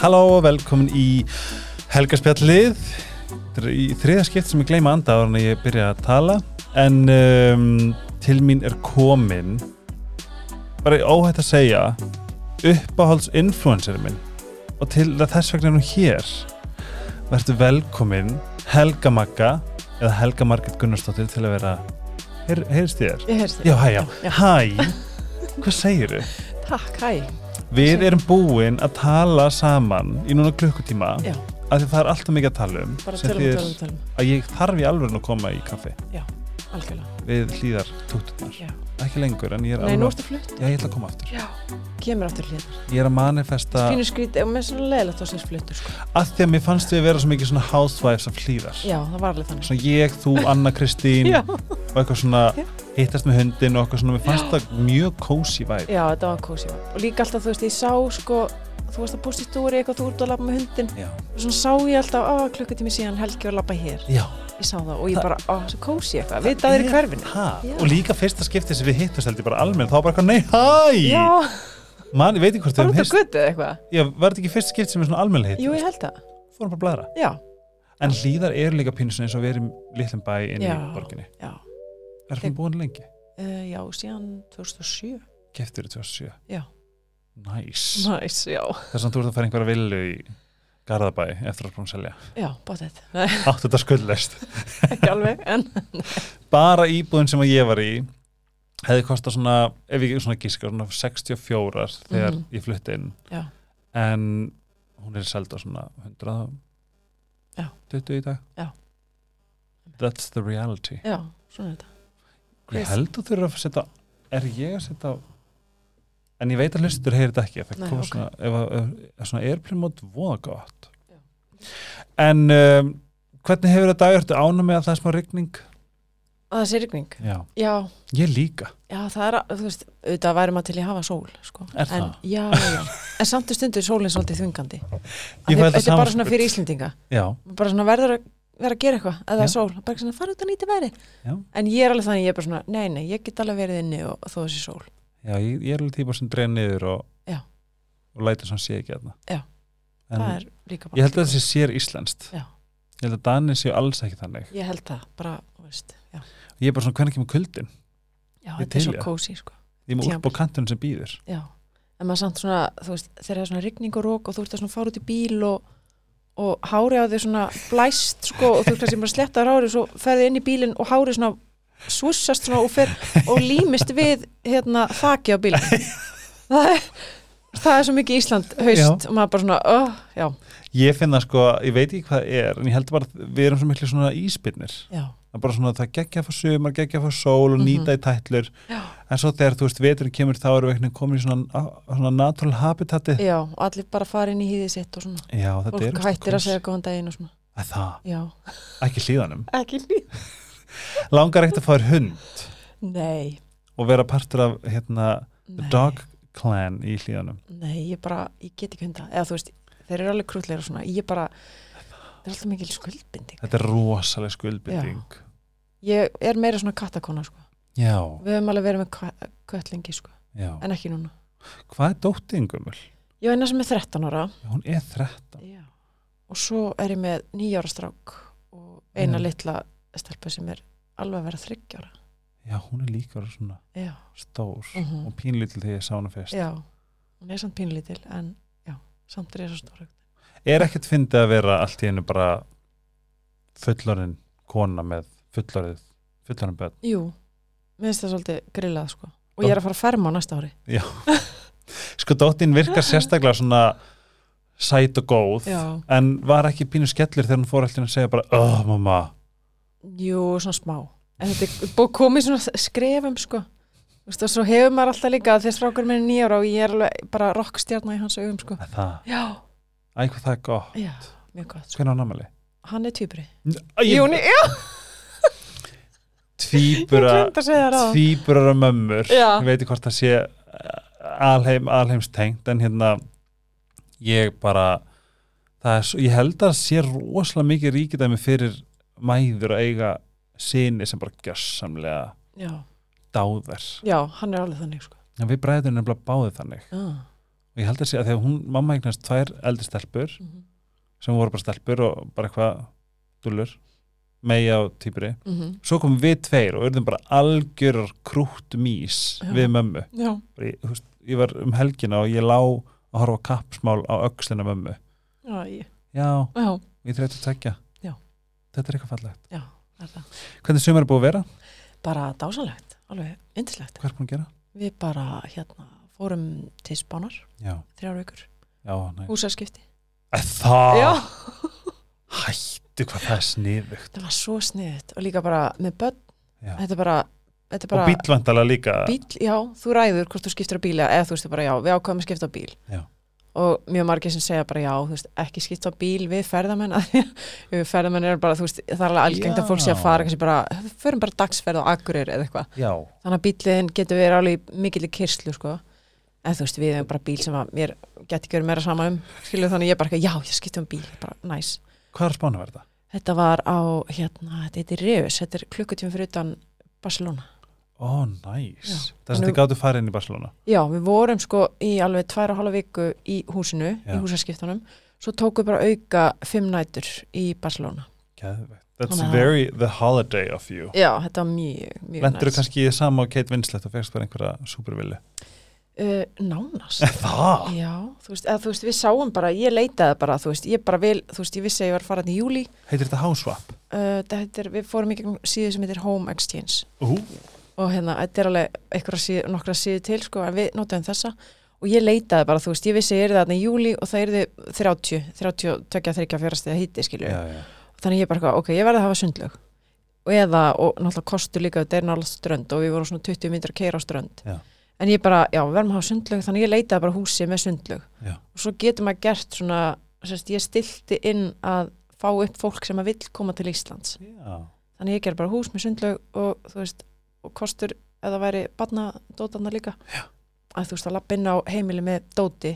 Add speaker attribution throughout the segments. Speaker 1: Halló og velkomin í Helgaspjallið Þetta er í þriða skipt sem ég gleyma að anda ára en ég byrja að tala en um, til mín er komin bara óhætt að segja uppáhalds influencerinn minn og til að þess vegna er hún hér verður velkomin Helga Magga eða Helga Margit Gunnarsdóttir til að vera heyr, heyrst þér?
Speaker 2: Ég heyrst þig.
Speaker 1: Já, hæ, já,
Speaker 2: Já.
Speaker 1: hæ hvað segirðu?
Speaker 2: Takk, hæ.
Speaker 1: Við erum búin að tala saman í núna klukkutíma
Speaker 2: Já.
Speaker 1: af því það er alltaf mikið að tala um
Speaker 2: Bara
Speaker 1: sem
Speaker 2: tölum,
Speaker 1: þýðir
Speaker 2: tölum, tölum.
Speaker 1: að ég þarf í alveg að koma í kaffi
Speaker 2: Algjörlega.
Speaker 1: við hlýðar tóttunar
Speaker 2: Já.
Speaker 1: ekki lengur en ég er
Speaker 2: Nei, nú
Speaker 1: alveg
Speaker 2: ertu flutt.
Speaker 1: Já, ég ætla að koma aftur.
Speaker 2: Já. Kemur aftur hliðar.
Speaker 1: Ég er að manifesta
Speaker 2: Fínu skrítið, og með svona leðilegt að sést fluttur, sko.
Speaker 1: að því að mér fannst við að vera svo mikið svona housewives af hlýðar.
Speaker 2: Já, það var alveg þannig.
Speaker 1: Svona ég, þú, Anna Kristín
Speaker 2: Já.
Speaker 1: og eitthvað svona
Speaker 2: Já.
Speaker 1: hittast með hundin og eitthvað svona, mér fannst
Speaker 2: Já.
Speaker 1: það mjög cozy væri.
Speaker 2: Já, þetta var kósi. Og líka alltaf, þú veist, ég sá, sko, þú varst að posta í stúri eitthvað, þú ert að labba með hundin.
Speaker 1: Já.
Speaker 2: Og svona sá ég alltaf, á, klukkutími síðan, Helgi var að labba hér.
Speaker 1: Já.
Speaker 2: Ég sá það og ég
Speaker 1: Það-
Speaker 2: bara, á, svo kósi eitthvað. Við daðir í
Speaker 1: Er-
Speaker 2: hverfinu.
Speaker 1: Ha,
Speaker 2: Já.
Speaker 1: og líka fyrsta skiptið sem við hittast held ég bara almenn, þá var bara eitthvað, nei, hæ!
Speaker 2: Já,
Speaker 1: Man, ég veit ekki hvort
Speaker 2: bara
Speaker 1: við
Speaker 2: út
Speaker 1: höfum
Speaker 2: á
Speaker 1: hist
Speaker 2: götu eða eitthvað.
Speaker 1: Já, var þetta ekki fyrst skipt sem er svona almenna hitt
Speaker 2: Jú, ég held það.
Speaker 1: Fórum bara að blæra
Speaker 2: Já,
Speaker 1: En hlýðar eru líka pínu svona eins og við erum litlum bæ inn í
Speaker 2: Já.
Speaker 1: borginni
Speaker 2: já.
Speaker 1: Er það búin lengi?
Speaker 2: Uh, já, síðan 2007.
Speaker 1: Keftur í 2007
Speaker 2: Já.
Speaker 1: Næs
Speaker 2: Næs, já.
Speaker 1: Þess að þú ert að fara einhverja villu í Garðabæ eftir að búin að selja
Speaker 2: Já, bóttið. Nei,
Speaker 1: Áttu þetta skuldleist
Speaker 2: ekki alveg, en
Speaker 1: Bara íbúðin sem að ég var í hefði kostað svona, ef ég svona gíska svona 64 þegar
Speaker 2: Mhm.
Speaker 1: ég flutti inn
Speaker 2: Já.
Speaker 1: en hún er seld á svona 100
Speaker 2: Já.
Speaker 1: 20 í dag
Speaker 2: Já.
Speaker 1: That's the reality
Speaker 2: já, svona er þetta.
Speaker 1: Ég
Speaker 2: Yes.
Speaker 1: held að þú eru að setja Er ég að setja En ég veit að hlustur heyrir þetta ekki Það
Speaker 2: Nei,
Speaker 1: kom
Speaker 2: ok.
Speaker 1: svona, ef að ef- ef svona airplane mode voða gott
Speaker 2: Já.
Speaker 1: En um, hvernig hefur þetta dagur Þetta ánum með að það er smá rigning
Speaker 2: Að það sé rigning.
Speaker 1: Já,
Speaker 2: Já,
Speaker 1: ég líka
Speaker 2: já, það er, að- þú veist, auðvitað væri maður til í að hafa sól, sko.
Speaker 1: Er
Speaker 2: en,
Speaker 1: það?
Speaker 2: Já, já. En samt og stundu er sólinn svolítið þungandi. Af
Speaker 1: Ég
Speaker 2: því
Speaker 1: fæ þetta
Speaker 2: Þetta er bara svona
Speaker 1: samviskubit.
Speaker 2: fyrir Íslendinga.
Speaker 1: Já,
Speaker 2: Maður Bara svona verður að vera að gera eitthvað, eða það
Speaker 1: Já.
Speaker 2: er sól. Bara svona fara út að nýta verið.
Speaker 1: Já.
Speaker 2: En ég er alveg þannig, ég er bara svona, nei, nei, ég get alveg verið inni og, og þó þessi sól.
Speaker 1: já ég, ég er alveg típa sem drein niður og,
Speaker 2: Já.
Speaker 1: og lætur sem sé ekki aðna
Speaker 2: Já.
Speaker 1: En
Speaker 2: það er líka bara.
Speaker 1: ég held að þessi sér íslenskt
Speaker 2: Já.
Speaker 1: Ég held að Danir séu alls ekki þannig
Speaker 2: Ég held það, bara, þú veist, já.
Speaker 1: Ég er bara svona hvernig kemur kuldin
Speaker 2: Já,
Speaker 1: Ég
Speaker 2: þetta er
Speaker 1: til
Speaker 2: svo
Speaker 1: í það.
Speaker 2: kósi, sko.
Speaker 1: Ég er með
Speaker 2: Tímabil.
Speaker 1: úlp á kantunum sem býður
Speaker 2: Já, en maður samt svona, þú veist, þegar það er svona rigning og rók og þú ert að svona fara út í bíl og, og hári á þig svona blæst, sko, og þú ert kannski bara að sletta á hári og svo ferði inn í bílinn og hári svona svussast svona og, fer, og límist við, hérna, þaki á bílinn. það, er, það er svo mikið Ísland haust
Speaker 1: Já.
Speaker 2: og maður bara svona, oh, já,
Speaker 1: Ég finn það sko, ég veit ekki hvað það er en ég held bara að við erum svo miklu svona íspinnir
Speaker 2: já,
Speaker 1: það er bara svona að það geggja að fá sumar, geggja að fá sól og
Speaker 2: Mhm.
Speaker 1: nýta í tætlur
Speaker 2: Já.
Speaker 1: en svo þegar þú veist veturinn kemur þá erum við einhvern veginn komin í svona, svona natural habitati
Speaker 2: já, og allir bara fara inn í hýðið sitt og svona.
Speaker 1: Já, þetta er
Speaker 2: Fólk hættir að segja góðan daginn og svona,
Speaker 1: að það,
Speaker 2: já.
Speaker 1: ekki hlýðanum
Speaker 2: Ekki líf.
Speaker 1: langar ekkert að fá þér hund
Speaker 2: Nei,
Speaker 1: og vera partur af hérna the
Speaker 2: nei.
Speaker 1: dog clan í hlýðanum
Speaker 2: Nei, ég bara, ég get ekki hunda eða þú veist, þeir eru alveg krútleir og svona ég bara, það er alltaf mikil skuldbinding
Speaker 1: þetta er rosaleg skuldbytting
Speaker 2: ég er meira svona kattakona sko.
Speaker 1: Já,
Speaker 2: við höfum alveg verið með kva- kött lengi sko.
Speaker 1: já,
Speaker 2: en ekki núna,
Speaker 1: hvað er dóttin gömul?
Speaker 2: ég er eina sem er 13 ára
Speaker 1: Hún er 13
Speaker 2: Já. og svo er ég með 9 ára strák og eina
Speaker 1: Já.
Speaker 2: litla stelpa sem er alveg að vera 30 ára
Speaker 1: Já, hún er líka orðin svona
Speaker 2: Já,
Speaker 1: stór
Speaker 2: Mhm.
Speaker 1: og pínlítil þegar ég sá hana fyrst
Speaker 2: já, hún er samt pínlítil en já, samt er ég svo stóra
Speaker 1: er ekkert fyndið að vera allt í einu bara fullorinn kona með fullorðið fullorinn börn
Speaker 2: Jú, minnst það svolítið grillað sko. og ég er að fara að ferma á næsta ári
Speaker 1: sko dóttin virkar sérstaklega svona sæt og góð
Speaker 2: Já.
Speaker 1: en var ekki pínu skellur þegar hún fór allt í einu að segja bara oh mamma
Speaker 2: Jú, svona smá En þetta er búið komið svona skrefum sko Þú veist, og svo hefur maður alltaf líka að þegar strákur minn er nýjar og ég er alveg bara rockstjarna í hans augum sko
Speaker 1: að það,
Speaker 2: Já,
Speaker 1: æ hvað það er gott
Speaker 2: já, mjög gott sko.
Speaker 1: hvernig á namali?
Speaker 2: Hann er týpri
Speaker 1: Ég,
Speaker 2: Júni, já, ég
Speaker 1: tvíbura
Speaker 2: glemt að segja það ráðan
Speaker 1: tvíburar og mömmur
Speaker 2: Já.
Speaker 1: ég veit ekki hvort það sé eh, alheim, alheims tengt en hérna ég bara það er, svo- ég held að sé rosalega mikið ríkidæmi fyrir mæður að eiga sinni sem bara gjörsamlega
Speaker 2: Já,
Speaker 1: dáðar
Speaker 2: já, hann er alveg þannig sko
Speaker 1: en við bræðum nefnilega báðið þannig
Speaker 2: Já,
Speaker 1: og ég held að sé að því að hún, mamma eignast tvær eldri stelpur
Speaker 2: Mhm.
Speaker 1: sem voru bara stelpur og bara eitthvað dullur, meja og týpuri
Speaker 2: Mhm.
Speaker 1: svo komum við tveir og urðum bara algjörar krútt mís
Speaker 2: Já.
Speaker 1: við mömmu
Speaker 2: Já,
Speaker 1: Bara ég, þú veist, ég var um helgina og ég lá að horfa á kappsmál á öxlina mömmu
Speaker 2: já, ég-
Speaker 1: já,
Speaker 2: já,
Speaker 1: ég þreytu að tekja
Speaker 2: Já.
Speaker 1: þetta er eitthvað fallegt
Speaker 2: já, það er það.
Speaker 1: hvernig sumar er búið að vera,
Speaker 2: Bara dásanlegt, alveg yndislegt.
Speaker 1: hvað er búin að gera
Speaker 2: Við bara, hérna, fórum til spánar,
Speaker 1: já,
Speaker 2: þrjár vikur,
Speaker 1: já, næ
Speaker 2: húsaskipti.
Speaker 1: Æ, það,
Speaker 2: Já,
Speaker 1: hættu hvað það er sniðugt
Speaker 2: það var svo sniðið og líka bara með börn,
Speaker 1: Já.
Speaker 2: þetta er bara, þetta
Speaker 1: og
Speaker 2: er bara...
Speaker 1: bílvandala líka
Speaker 2: bíl, já, þú ræður hvort þú skiptir á bíla eða þú veist bara já, við ákveðum að skipta á bíl
Speaker 1: Já.
Speaker 2: og mjög margir sem segja bara já, þú veist, ekki skipta á bíl við ferðamenn af því að við ferðamenn eru bara, þú veist, það er alveg algengt að fólk sé að
Speaker 1: Já.
Speaker 2: fara kannski bara, við förum bara dagsferð á Akureyri eða eitthvað,
Speaker 1: já,
Speaker 2: þannig að bíliðin getur verið alveg mikill í kyrslu, sko en þú veist, við erum bara bíl sem að mér geti ekki verið meira sama um, skilur þannig að ég bara eitthvað, já, ég skipta um bíl, bara næs
Speaker 1: hvað er spánu verða
Speaker 2: þetta var á, hérna, þetta heitir Reus þetta er klukkutíum fyrir utan Barcelona
Speaker 1: ó, næs,
Speaker 2: Já.
Speaker 1: það er sem
Speaker 2: Nú-
Speaker 1: þið gáttu farið inn í Barcelona
Speaker 2: Já, við vorum sko í alveg tværa hálfa viku í húsinu,
Speaker 1: Já.
Speaker 2: í húsaskiptunum svo tókum við bara auka fimm nætur í Barcelona.
Speaker 1: Geðveikt. That's
Speaker 2: Þannig að-
Speaker 1: very the holiday of you.
Speaker 2: Já, þetta var mjög, mjög
Speaker 1: Lendur þú kannski í sama og Kate Winslet og fegst bara einhverja supervillu?
Speaker 2: Uh, nánast.
Speaker 1: Það?
Speaker 2: Já, þú veist, eða, þú veist, við sáum bara, ég leitaði bara, þú veist, ég bara vil, þú veist, ég vissi að ég var að fara þarna í júli,
Speaker 1: Heitir þetta Housewipe?
Speaker 2: uh, þetta er, við fórum í gegnum síðu sem heitir Home Exchange
Speaker 1: Ú,
Speaker 2: og hérna, þetta er alveg einhverja síðu, nokkra síðu til, sko, en við notaðum þessa og ég leitaði bara, þú veist, ég vissi að ég er þarna í júli og það er 30, 30, 23, 4 stiga híti, skilju.
Speaker 1: já, já.
Speaker 2: þannig ég bara, eitthvað, ok, ég verði að hafa sundlög og eða, og náttúrulega kostu líka þetta er náttúrulega strönd og við vorum svona 20 myndir að keira á strönd
Speaker 1: Já.
Speaker 2: en ég bara, já, við verðum að hafa sundlög þannig ég leitaði bara húsi með sundlög
Speaker 1: Já.
Speaker 2: og svo getur maður gert svona sérst, ég stilti inn að fá upp fólk sem að vill koma til Íslands
Speaker 1: já.
Speaker 2: þannig ég ger bara hús með sundlög og þú veist, og kostur eða væri barnadótana líka já. að þú veist að lappa inn á heimili með dóti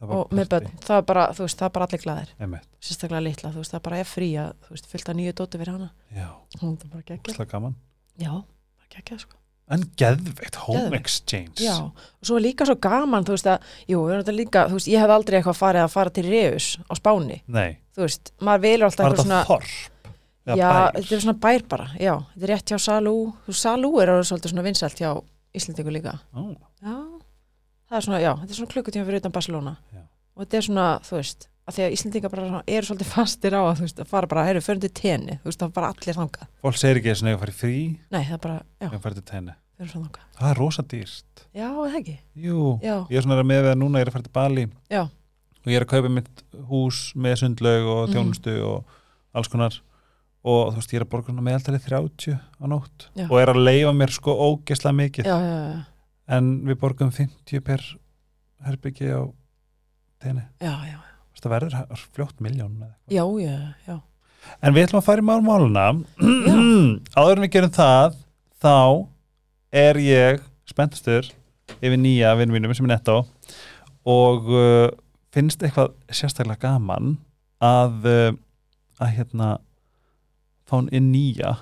Speaker 1: Það
Speaker 2: og með börn, það er bara, þú veist, það er bara allir glæðir
Speaker 1: Emmett,
Speaker 2: sérstaklega litla, þú veist, það bara er frí að, þú veist, fylgta nýju dóti fyrir hana
Speaker 1: já,
Speaker 2: hún er bara geggja
Speaker 1: slag gaman.
Speaker 2: já, bara geggja sko
Speaker 1: En geðveikt, home
Speaker 2: Geðveikt.
Speaker 1: exchange.
Speaker 2: já, og svo er líka svo gaman þú veist að, jú, við erum þetta líka þú veist, ég hef aldrei eitthvað farið að fara til Reus á Spáni,
Speaker 1: Nei,
Speaker 2: þú veist, maður velur alltaf
Speaker 1: var
Speaker 2: eitthvað
Speaker 1: þetta
Speaker 2: svona,
Speaker 1: þorp? Eða
Speaker 2: já,
Speaker 1: bær?
Speaker 2: þetta er svona bær bara já, þetta er rétt hjá Salú, þú veist, Salú er alveg svolítið svona vinsælt hjá Íslandingu líka
Speaker 1: Ó,
Speaker 2: já, það er svona, já, þetta er svona klukkutíma fyrir utan Barcelona
Speaker 1: Já.
Speaker 2: og þetta er svona, þú veist, að því að Íslandinga bara svona eru svolítið fastir á að, þú veist, að fara bara, heyrðu, förum til tenni, þú veist, það er bara allir þangað
Speaker 1: Fólk segir ekki að svona ég farið frí,
Speaker 2: nei, það er bara, já,
Speaker 1: ég farið til tenni.
Speaker 2: förum svo þangað
Speaker 1: Það er rosa dýrst.
Speaker 2: já, er það ekki,
Speaker 1: Jú,
Speaker 2: já,
Speaker 1: ég er svona að með við að núna ég er að fara til Bali
Speaker 2: Já.
Speaker 1: og ég er að kaupa mitt hús með sundlaug og
Speaker 2: Mhm.
Speaker 1: þjónustu og alls konar og þú veist ég er að borga svona meðaltalið 30 á nótt
Speaker 2: Já.
Speaker 1: og er að leifa mér sko ógesla mikið
Speaker 2: já, já, já, já.
Speaker 1: en við borgum 50 per herbyggi á teginni
Speaker 2: já, já,
Speaker 1: það verður ha- fljótt miljón
Speaker 2: já, já, já.
Speaker 1: en við ætlum að fara í málmáluna áður en við gerum það þá er ég spenntastur yfir nýja vinnum mínum sem er nettó og uh, finnst eitthvað sérstaklega gaman að uh, að hérna fá hún inn nýja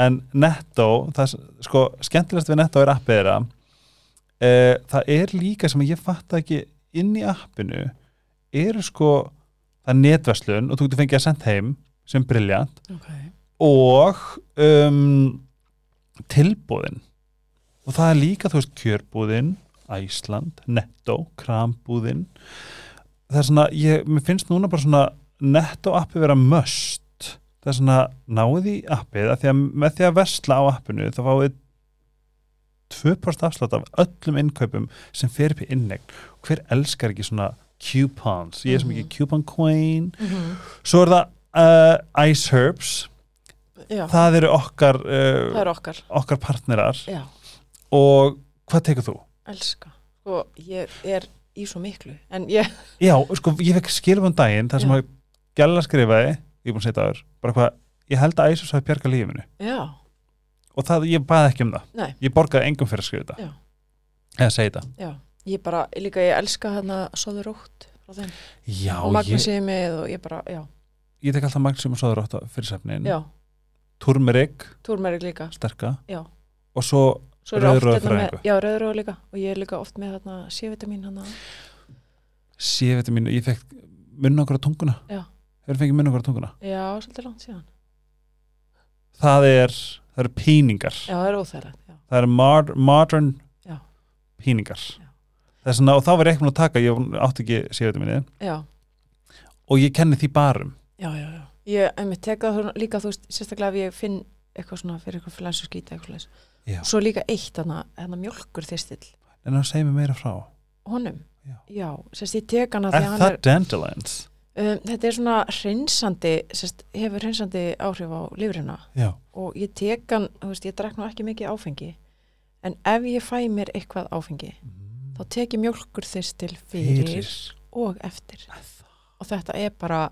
Speaker 1: en nettó, það s- sko skemmtilegast við nettó er appið þeirra uh, það er líka sem ég fatt ekki inn í appinu eru sko það er netverslun og þú getur fengið að senda heim sem briljant
Speaker 2: Ok.
Speaker 1: og um, tilbúðin og það er líka þú veist kjörbúðin Æsland, Netto, Krambúðin það er svona ég, mér finnst núna bara svona Netto appi vera möst það er svona náið í appið að því að með því að versla á appinu þá fáið 2% afslátt af öllum innkaupum sem fer upp í innegn hver elskar ekki svona coupons ég er sem ekki coupon queen
Speaker 2: Mhm.
Speaker 1: svo er það uh, Ice Herbs
Speaker 2: Já,
Speaker 1: það eru okkar,
Speaker 2: það
Speaker 1: uh,
Speaker 2: er okkar.
Speaker 1: okkar partnerar
Speaker 2: Já,
Speaker 1: og hvað tekur þú?
Speaker 2: elska. Sko, ég er í svo miklu, en ég,
Speaker 1: Já, sko, ég fekk skilfum daginn þar sem
Speaker 2: Já.
Speaker 1: að gæla skrifaði, ég er búin að segja það áður, bara hvað, ég held að Æsus hafi bjarga lífinu
Speaker 2: já,
Speaker 1: og það, ég baði ekki um það,
Speaker 2: Nei.
Speaker 1: ég borgaði engum fyrir að skrifa þetta
Speaker 2: Já.
Speaker 1: eða segja þetta
Speaker 2: já. Ég bara, líka ég elska hérna Sóður Rótt frá þeim.
Speaker 1: Já,
Speaker 2: og
Speaker 1: ég,
Speaker 2: Magnúsið með og ég bara, já,
Speaker 1: ég tek alltaf Magnusum og Sáður 8 fyrir sefnin,
Speaker 2: já,
Speaker 1: Turmerik
Speaker 2: Túrmerik líka.
Speaker 1: sterka
Speaker 2: Já.
Speaker 1: og svo,
Speaker 2: Svo er oft
Speaker 1: Rauðrófur
Speaker 2: hérna með,
Speaker 1: fræðingur.
Speaker 2: já, Rauðróð líka og ég er líka oft með hérna C-vitamin hérna.
Speaker 1: sé þetta mín, ég fekk munnangur á tunguna
Speaker 2: Já.
Speaker 1: hefur fengið munnangur á tunguna
Speaker 2: já, svolítið langt síðan
Speaker 1: það er, það eru píningar
Speaker 2: já, það er óþægilegt já.
Speaker 1: það eru mar, modern
Speaker 2: Já.
Speaker 1: píningar
Speaker 2: Já.
Speaker 1: þess að og þá var ég ekki búin að taka ég átti ekki sé þetta mín
Speaker 2: já,
Speaker 1: og ég kenni því barum
Speaker 2: já, já, já. ég einmitt teka það svona líka þú veist, sérstaklega ef ég finn eitthvað svona fyrir eitthvað flensu skýta eitthvað leys
Speaker 1: Já.
Speaker 2: svo líka eitt hana, hana mjölkur þistill
Speaker 1: en hann segir mér meira frá
Speaker 2: honum,
Speaker 1: Já.
Speaker 2: já, sérst ég tek hana
Speaker 1: er
Speaker 2: því að hann
Speaker 1: það
Speaker 2: er,
Speaker 1: dandelions?
Speaker 2: um, þetta er svona hreinsandi sérst, hefur hreinsandi áhrif á lifrina
Speaker 1: Já.
Speaker 2: og ég tek hann, þú veist, ég drakk nú ekki mikið áfengi en ef ég fæ mér eitthvað áfengi þá tek ég mjölkur þistil fyrir, og eftir
Speaker 1: Er það-
Speaker 2: og þetta er bara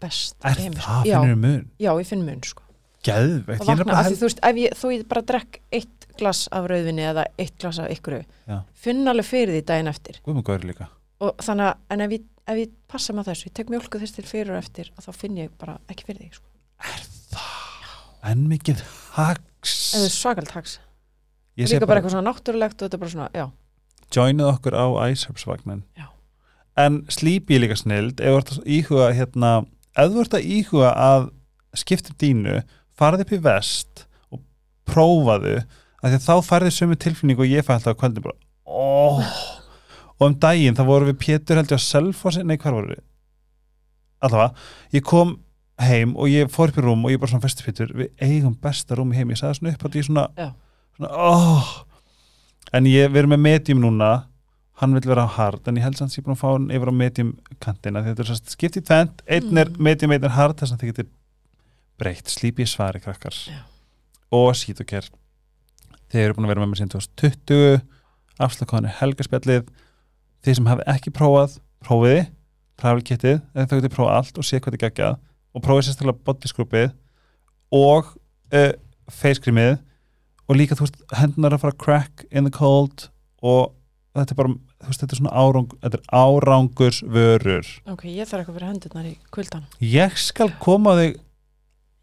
Speaker 2: best
Speaker 1: er
Speaker 2: í heimi,
Speaker 1: það
Speaker 2: sko. já,
Speaker 1: finnur mun?
Speaker 2: já, ég finn mun sko.
Speaker 1: Geðvegt,
Speaker 2: og
Speaker 1: ég er
Speaker 2: vakna,
Speaker 1: bara
Speaker 2: af því
Speaker 1: held
Speaker 2: þú veist, ef ég, þó ég bara drekk eitt glas af rauðvinni eða eitt glas af ykkur
Speaker 1: Já.
Speaker 2: finn alveg fyrir því daginn eftir
Speaker 1: Guðmungur líka
Speaker 2: og þannig að, en ef ég, ef ég passa með þessu, ég tek mjölku þess til fyrir og eftir og þá finn ég bara ekki fyrir því sko.
Speaker 1: En mikið hacks
Speaker 2: en það er svakalt hags,
Speaker 1: Ég
Speaker 2: líka bara eitthvað svona náttúrulegt og þetta er bara svona, já,
Speaker 1: joinuð okkur á Iceherbsvagnin
Speaker 2: Já.
Speaker 1: En Sleepy er líka snild ef þú ert að íhuga hérna ef þú ert að íhuga að skipta um dínu farði upp í vest og prófaðu af því að þá færði sömu tilfinningu og ég fæ alltaf að kvöldi bara oh. og um daginn þá vorum við Pétur heldur að selfossi, nei hvar voru við allavega, ég kom heim og ég fór upp í rúm og ég bara svona festi Pétur, við eigum besta rúm í heim ég sagði svona upp að ég svona,
Speaker 2: Já.
Speaker 1: svona oh. en ég við erum með medium núna hann vil vera á hard en ég held samt að ég er búin að fá hann yfir á medium kantina því þetta er sérst skipt í tvent einn er
Speaker 2: Mm.
Speaker 1: medium, einn er hard þess að þið getur breytt slípi í svari krakkar
Speaker 2: Já.
Speaker 1: og sítuker þið eru búin að vera með mér síðan 2020 afslakaðan er helgaspjallið þið sem hafi ekki prófað, prófiði travelkittið, eða þau getur prófað allt og sé hvað þið geggjað og prófið sérstaklega bodyskrúpið og uh, facecreamið og líka þú veist, hendunar að fara crack in the cold og þetta er bara, þú veist, þetta er svona árang, þetta er árangurs vörur
Speaker 2: ok, ég þarf eitthvað fyrir hendurnar í kvöldan
Speaker 1: ég skal koma á þig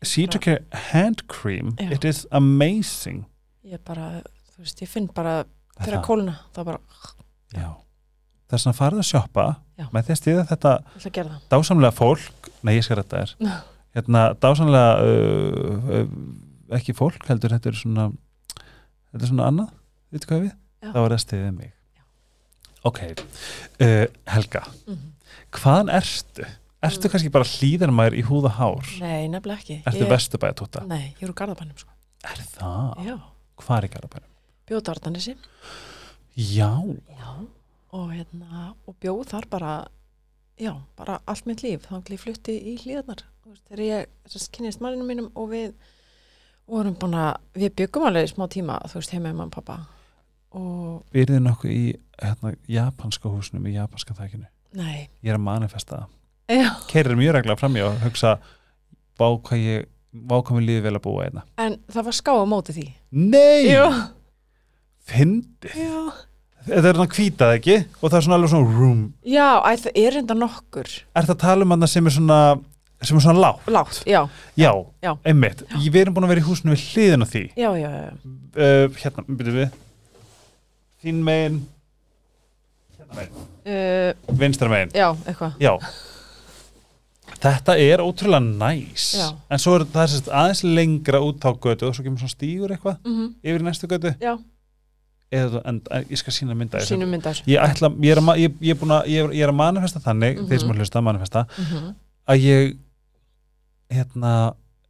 Speaker 1: Seatricare hand cream
Speaker 2: Já.
Speaker 1: it is amazing
Speaker 2: ég bara, þú veist, ég finn bara
Speaker 1: Er
Speaker 2: fyrir að
Speaker 1: það?
Speaker 2: kólna, þá bara,
Speaker 1: Já. það er svona farið að sjoppa
Speaker 2: Já.
Speaker 1: með því að stíða þetta
Speaker 2: ég ætla að gera það
Speaker 1: dásamlega fólk nei, ég skal þetta þér hérna, dásamlega uh, uh, ekki fólk heldur, þetta er svona þetta er svona annað, veitu hvað við
Speaker 2: Já.
Speaker 1: þá er það stíðið mig ok, uh, Helga
Speaker 2: Mhm.
Speaker 1: hvaðan ertu? Ertu
Speaker 2: Mm.
Speaker 1: kannski bara hlýðarmæður í húða hár?
Speaker 2: nei, nefnilega ekki
Speaker 1: Ertu
Speaker 2: ég,
Speaker 1: vesturbæða tóta?
Speaker 2: nei, ég er úr Garðabænum sko.
Speaker 1: Er það?
Speaker 2: já,
Speaker 1: Hvar í Garabærum?
Speaker 2: bjóð Dardanissi
Speaker 1: Já,
Speaker 2: Já, og hérna og bjóð þar bara já, bara allt mitt líf, þá ég flutti í hlíðarnar Þú veist, þegar ég sérst, kynist manninu mínum og við vorum búin að, við byggum alveg í smá tíma, þú veist, heima með mann pappa og
Speaker 1: við erum nokkuð í hérna, japanska húsnum í japanska þækinu.
Speaker 2: nei,
Speaker 1: Ég er að manifesta það.
Speaker 2: já
Speaker 1: Keirir mjög regla fram í og hugsa vá hvað ég, vá hvað mér lífið vel að búa einna.
Speaker 2: en það var ská á móti því
Speaker 1: Nei!
Speaker 2: Jú,
Speaker 1: Fyndi.
Speaker 2: já,
Speaker 1: Þetta er hann að hvítað ekki og það er svona alveg svona room.
Speaker 2: já æ, það er enda nokkur
Speaker 1: Er það að tala um hann sem er svona sem er svona lág?
Speaker 2: látt, já,
Speaker 1: Já,
Speaker 2: Já.
Speaker 1: einmitt. Ég, við erum búin að vera í húsinu við hliðin á því.
Speaker 2: já, já, já,
Speaker 1: Uh, hérna, byrjuð við. Þín megin,
Speaker 2: uh,
Speaker 1: vinstra megin.
Speaker 2: já, eitthvað
Speaker 1: Já Þetta er ótrúlega næs
Speaker 2: Já.
Speaker 1: En svo er það er sérst aðeins lengra út á götu og svo kemur svona stígur eitthvað
Speaker 2: mm
Speaker 1: yfir í næstu götu
Speaker 2: já,
Speaker 1: eða þú- en, en ég skal sína mynda þessu
Speaker 2: sínum mynda þessu
Speaker 1: Ég, ætla, ég, er að, ma- ég, ég, er búin að, ég, er, ég er að manifesta þannig
Speaker 2: Mhm.
Speaker 1: þeir sem að hlusta að manifesta
Speaker 2: mm
Speaker 1: að ég hérna,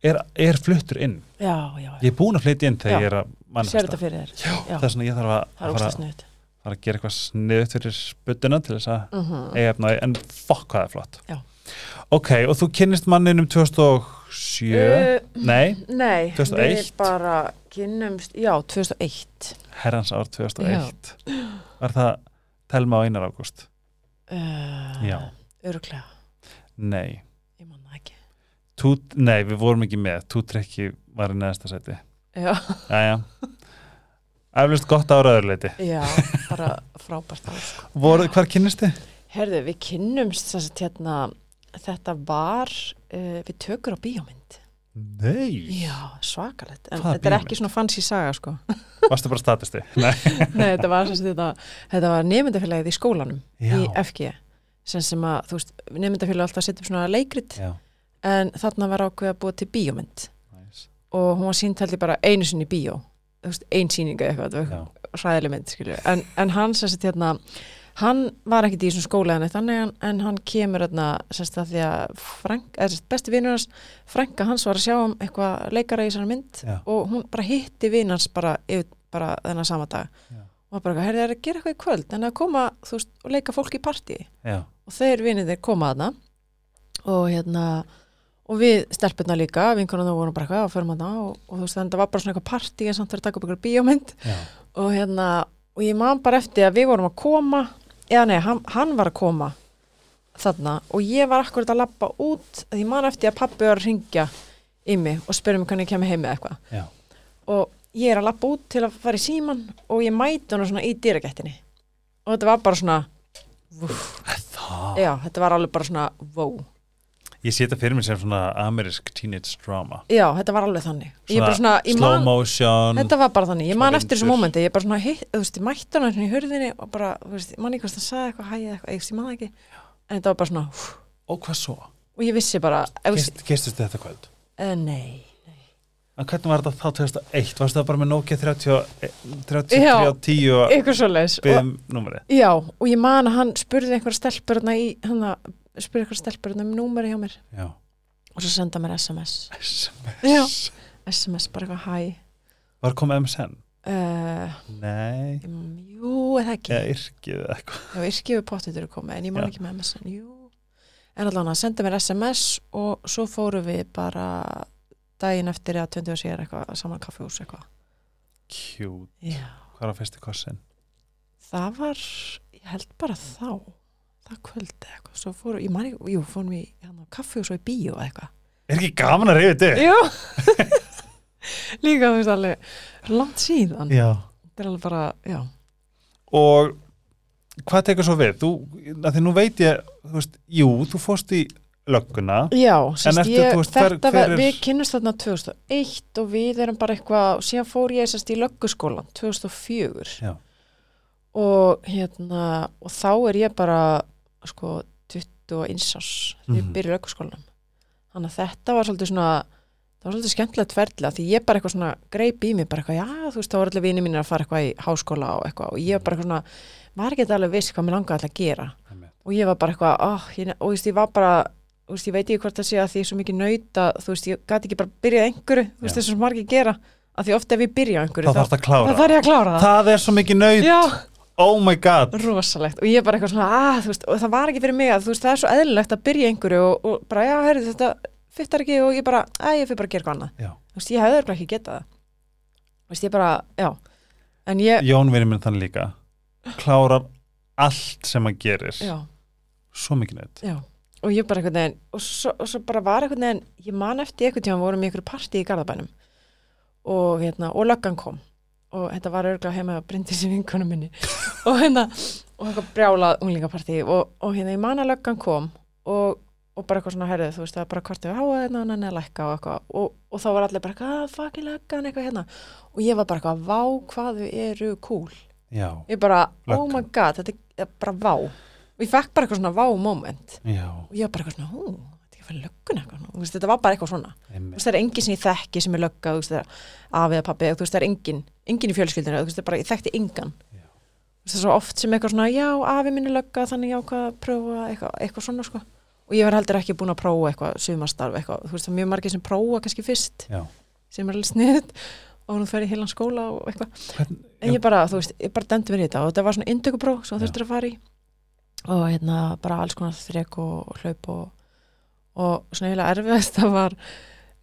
Speaker 1: er, er fluttur inn
Speaker 2: já, já, já,
Speaker 1: ég er búin að flytja inn þegar
Speaker 2: Já.
Speaker 1: ég er að
Speaker 2: sér þetta
Speaker 1: manifesta
Speaker 2: fyrir þér
Speaker 1: Já,
Speaker 2: Já.
Speaker 1: það er svona ég þarf að,
Speaker 2: það er
Speaker 1: að,
Speaker 2: óslega
Speaker 1: að,
Speaker 2: sniðut
Speaker 1: að, að gera eitthvað sniðut fyrir sputtuna til þess að
Speaker 2: mm
Speaker 1: eiga efnaði, en fokk hvað það er flott
Speaker 2: Já.
Speaker 1: ok, og þú kynnist manninum 2007 nei,
Speaker 2: Eh, Nei,
Speaker 1: 2001.
Speaker 2: við bara kynnumst, já, 2001
Speaker 1: herrans ár 2001 var það Telma á Einar Ágúst
Speaker 2: uh,
Speaker 1: Já.
Speaker 2: Öruglega,
Speaker 1: nei,
Speaker 2: ég man það ekki
Speaker 1: tú, nei, við vorum ekki með Tútrekki var í neðasta seti
Speaker 2: Já,
Speaker 1: jæja eflust gott ára öðurleiti
Speaker 2: já bara frábært á sko.
Speaker 1: Voru, hvar kynnist þið?
Speaker 2: Herðu, við kynnumst þess að hérna, þetta var uh, við tökur á bíómynd
Speaker 1: nei,
Speaker 2: Já, svakalegt, en
Speaker 1: Hvaða
Speaker 2: þetta er
Speaker 1: bíómynd?
Speaker 2: ekki svona fancy saga sko
Speaker 1: varstu bara statisti Nei.
Speaker 2: Nei, þetta var, sem sagt þetta, þetta var nefndafélagið í skólanum í
Speaker 1: Já.
Speaker 2: FG sem sem að, þú veist, nefndafélagið alltaf setja upp svona leikrit
Speaker 1: Já,
Speaker 2: en þarna var ákveð að búa til bíómynd
Speaker 1: næs.
Speaker 2: og hún var sínt heldur bara einu sinni í bíó þú veist, ein sýninga eitthvað, þetta
Speaker 1: Já.
Speaker 2: var hræðileg mynd skilju, en, en hann sem sagt hérna hann var ekkit í svona skóla en þannig en, en hann kemur hérna sem sagt að því að Frank, eða sem sagt besti vinur hans Franka hans var að sjá um eitthvað leikara í þessari mynd
Speaker 1: Já.
Speaker 2: og hún bara hitti vin hans bara, yfir, bara þennan sama dag
Speaker 1: Já.
Speaker 2: og var bara, eitthvað, herri, það er að gera eitthvað í kvöld en að koma, þú veist, og leika fólk í partíi
Speaker 1: Já,
Speaker 2: og þeir vinið þeir koma aðna og hérna og við stelpurna líka, vinkonum þá vorum bara eitthvað og förum aðna og, og þú veist þannig að það var bara svona eitthvað partí en samt verið að taka upp ykkur bíómynd
Speaker 1: já,
Speaker 2: og hérna, og ég man bara eftir að við vorum að koma eða nei, hann, hann var að koma þarna og ég var akkurat að lappa út að ég man eftir að pappi var að ringja í mig og spyrja mig hvernig ég kemur heim með eitthvað
Speaker 1: já,
Speaker 2: og ég er að lappa út til að fara í síman og ég mæti hann svona í dýragettinni og þetta var bara svona
Speaker 1: Það
Speaker 2: Já, þetta var alveg bara svona, wow.
Speaker 1: Ég sé þetta fyrir mér sem svona amerisk teenage drama
Speaker 2: Já, þetta var alveg þannig. Ég bara svona, ég
Speaker 1: slow
Speaker 2: man,
Speaker 1: motion
Speaker 2: þetta var bara þannig, ég
Speaker 1: Smá
Speaker 2: man eftir þessu
Speaker 1: vindur.
Speaker 2: mómenti, ég bara svona, hitt, þú veist, ég mætti hana hérna í hurðinni og bara, þú veist, ég man ekki hvort það sagði eitthvað, hæði eitthvað, ég veist, ég man það ekki, en þetta var bara svona, hú,
Speaker 1: Og hvað svo?
Speaker 2: og ég vissi bara, ég veist,
Speaker 1: Kist, kistust þetta kvöld?
Speaker 2: uh, nei,
Speaker 1: En hvernig var þetta þá 2001? Varstu það bara með Nokia 30, 30
Speaker 2: Já.
Speaker 1: 30 og
Speaker 2: eitthvað svo leis.
Speaker 1: byggðum númerið?
Speaker 2: Já, og ég man að hann spurði einhverja stelpurna í, hann að, spurði einhverja stelpurna um númeri hjá mér
Speaker 1: Já,
Speaker 2: og svo senda mér SMS.
Speaker 1: SMS
Speaker 2: Já. SMS bara eitthvað, hæ,
Speaker 1: Var kom MSN?
Speaker 2: uh,
Speaker 1: Nei,
Speaker 2: jú, eða ekki.
Speaker 1: eða yrkið eða eitthvað
Speaker 2: Já, yrkjöfu pottit eru komið en ég man
Speaker 1: Já.
Speaker 2: ekki með MSN, jú en allan að senda mér SMS og svo fórum við bara daginn eftir að 20 og sér eitthvað saman kaffihús eitthvað
Speaker 1: Cute,
Speaker 2: Já,
Speaker 1: hvað var fyrsti kossin?
Speaker 2: það var, ég held bara þá það kvöldi eitthvað svo fórum, ég man ekki, jú, fórum við hérna, á kaffihús og í bíó eða eitthvað
Speaker 1: Er ekki gaman að reyfi þetta?
Speaker 2: Jú Líka þú veist alveg langt síðan,
Speaker 1: Já
Speaker 2: þetta er alveg bara, já
Speaker 1: Og hvað tekur svo við? Þú, að því nú veit ég, þú veist, jú, þú fórst í lögguna
Speaker 2: Já, sérst,
Speaker 1: ertu,
Speaker 2: ég,
Speaker 1: þú veist, hver-
Speaker 2: þetta
Speaker 1: hver
Speaker 2: var,
Speaker 1: er-
Speaker 2: við kynnumst þarna 2001 og við erum bara eitthvað, og síðan fór ég sérst í lögguskólan 2004
Speaker 1: Já.
Speaker 2: og hérna, og þá er ég bara, sko, 21 árs þegar ég
Speaker 1: Mhm.
Speaker 2: byrja í lögguskólanum. Þannig að þetta var svolítið svona, það var svolítið skemmtilegt ferðlega því ég bara eitthvað svona greip í mig, bara eitthvað, já, þú veist, þá var allir vinið mínir að fara eitthvað í háskóla og eitthvað og ég var bara eitthvað svona, var ekki alveg viss hvað mér langaði alltaf að gera
Speaker 1: Einmitt.
Speaker 2: og ég var bara eitthvað oh, ég, og þú veist, ég var bara þú veist, ég veit ekki hvort það sé að því ég er svo mikið nöyta þú veist, ég gæti ekki bara byrjað einhverju þú veist,
Speaker 1: Já.
Speaker 2: þessum margir gera, að því ofta ef ég byrja á einhverju
Speaker 1: Það þarf að klára
Speaker 2: það þarf ég að klára það,
Speaker 1: Það er svo mikið nöyð,
Speaker 2: já,
Speaker 1: oh my god
Speaker 2: rosalegt og ég bara eitthvað svona, að, þú veist, og það var ekki fyrir mig að þú veist, það er svo eðlilegt að byrja í einhverju og, og bara, já, herri, þetta fyttar ekki og ég bara, að ég fyrir bara að gera eitthvað annað
Speaker 1: Já.
Speaker 2: þú veist, ég hefði örugglega ekki getað það þú veist, ég bara, já en ég,
Speaker 1: Jón verið minn þannig líka klárar allt sem hann gerir
Speaker 2: já
Speaker 1: svo mikið neitt
Speaker 2: Já, og ég bara einhvern veginn og svo, og svo bara var einhvern veginn ég man eftir einhvern tíma vorum í einhverju partí í Garðabænum og hérna, og löggan kom og þetta var örgulega heima að brindi sér vinkonu minni og hérna, og eitthvað brjálað unglingapartí og, og hérna, ég man að löggan kom og, og bara eitthvað svona herrið, þú veist, það er bara kvartið að háa hérna og nenni að lækka og eitthvað og, og þá var allir bara eitthvað, "Ah, að fucking löggan eitthvað hérna og ég var bara eitthvað, vá hvað þau eru cool
Speaker 1: Já,
Speaker 2: ég bara, oh
Speaker 1: Löggan.
Speaker 2: my god, þetta er bara vá og ég fekk bara eitthvað svona vá moment
Speaker 1: já,
Speaker 2: og ég var bara eitthvað svona, hú, þetta er ekki að fara lögguna eitthvað, Þú veist, þetta var bara eitthvað svona Þú
Speaker 1: einmitt
Speaker 2: veist, það er enginn sem ég þekki sem er lögga þú veist, það er afið að pappi, þú veist, það er enginn enginn í fjölskyldinu, þú veist, það er bara, ég þekkti engan
Speaker 1: Já.
Speaker 2: Þú veist, það er svo oft sem eitthvað svona já, afið minni lögga, þannig ég ákvað að prófa eitthvað, eitthvað svona, sko og ég var heldur ekki búin að prófa eitthvað, sumastarf eitthvað, þú veist, það er mjög margir sem prófa kannski fyrst
Speaker 1: Já.
Speaker 2: sem er alveg sniðut og hún fer í heilan skóla og eitthvað
Speaker 1: Hvern,
Speaker 2: en ég bara, þú veist, ég bara dendi mér í þetta og þetta var svona indökupróf sem þú
Speaker 1: Já.
Speaker 2: þurftir að fara í og hérna bara alls konar þrek og, og hlaup og, og svona eiginlega erfiðast það var,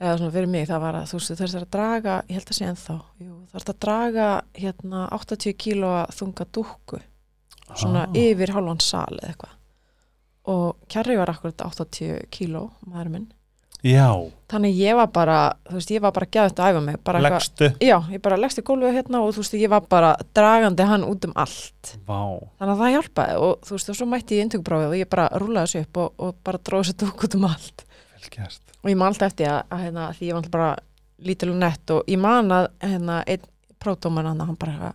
Speaker 2: eða svona fyrir mig það var að þú veist, þú þurftir að draga, ég held að sé ennþá jú, þú þurftir að draga hérna 80 kílóa þunga dúkku svona
Speaker 1: Ah.
Speaker 2: yfir hálfan sal eða eitthvað og kjarri var akkurat 80 kíló maður minn,
Speaker 1: Já,
Speaker 2: þannig ég var bara þú veist, ég var bara gæðið að æfa mig bara eitthvað-
Speaker 1: leggstu
Speaker 2: Já, ég bara leggst í gólfið hérna og þú veist, ég var bara dragandi hann út um allt.
Speaker 1: Vá,
Speaker 2: Þannig að það hjálpaði og þú veist, og svo mætti ég inntökuprófið og ég bara rúlaði þessu upp og, og bara dróði þessu dúk út um allt.
Speaker 1: vel gert
Speaker 2: Og ég man alltaf eftir að, að hérna, því ég var alltaf bara lítil og nett og ég man að hérna, einn prófdóman hann, hann bara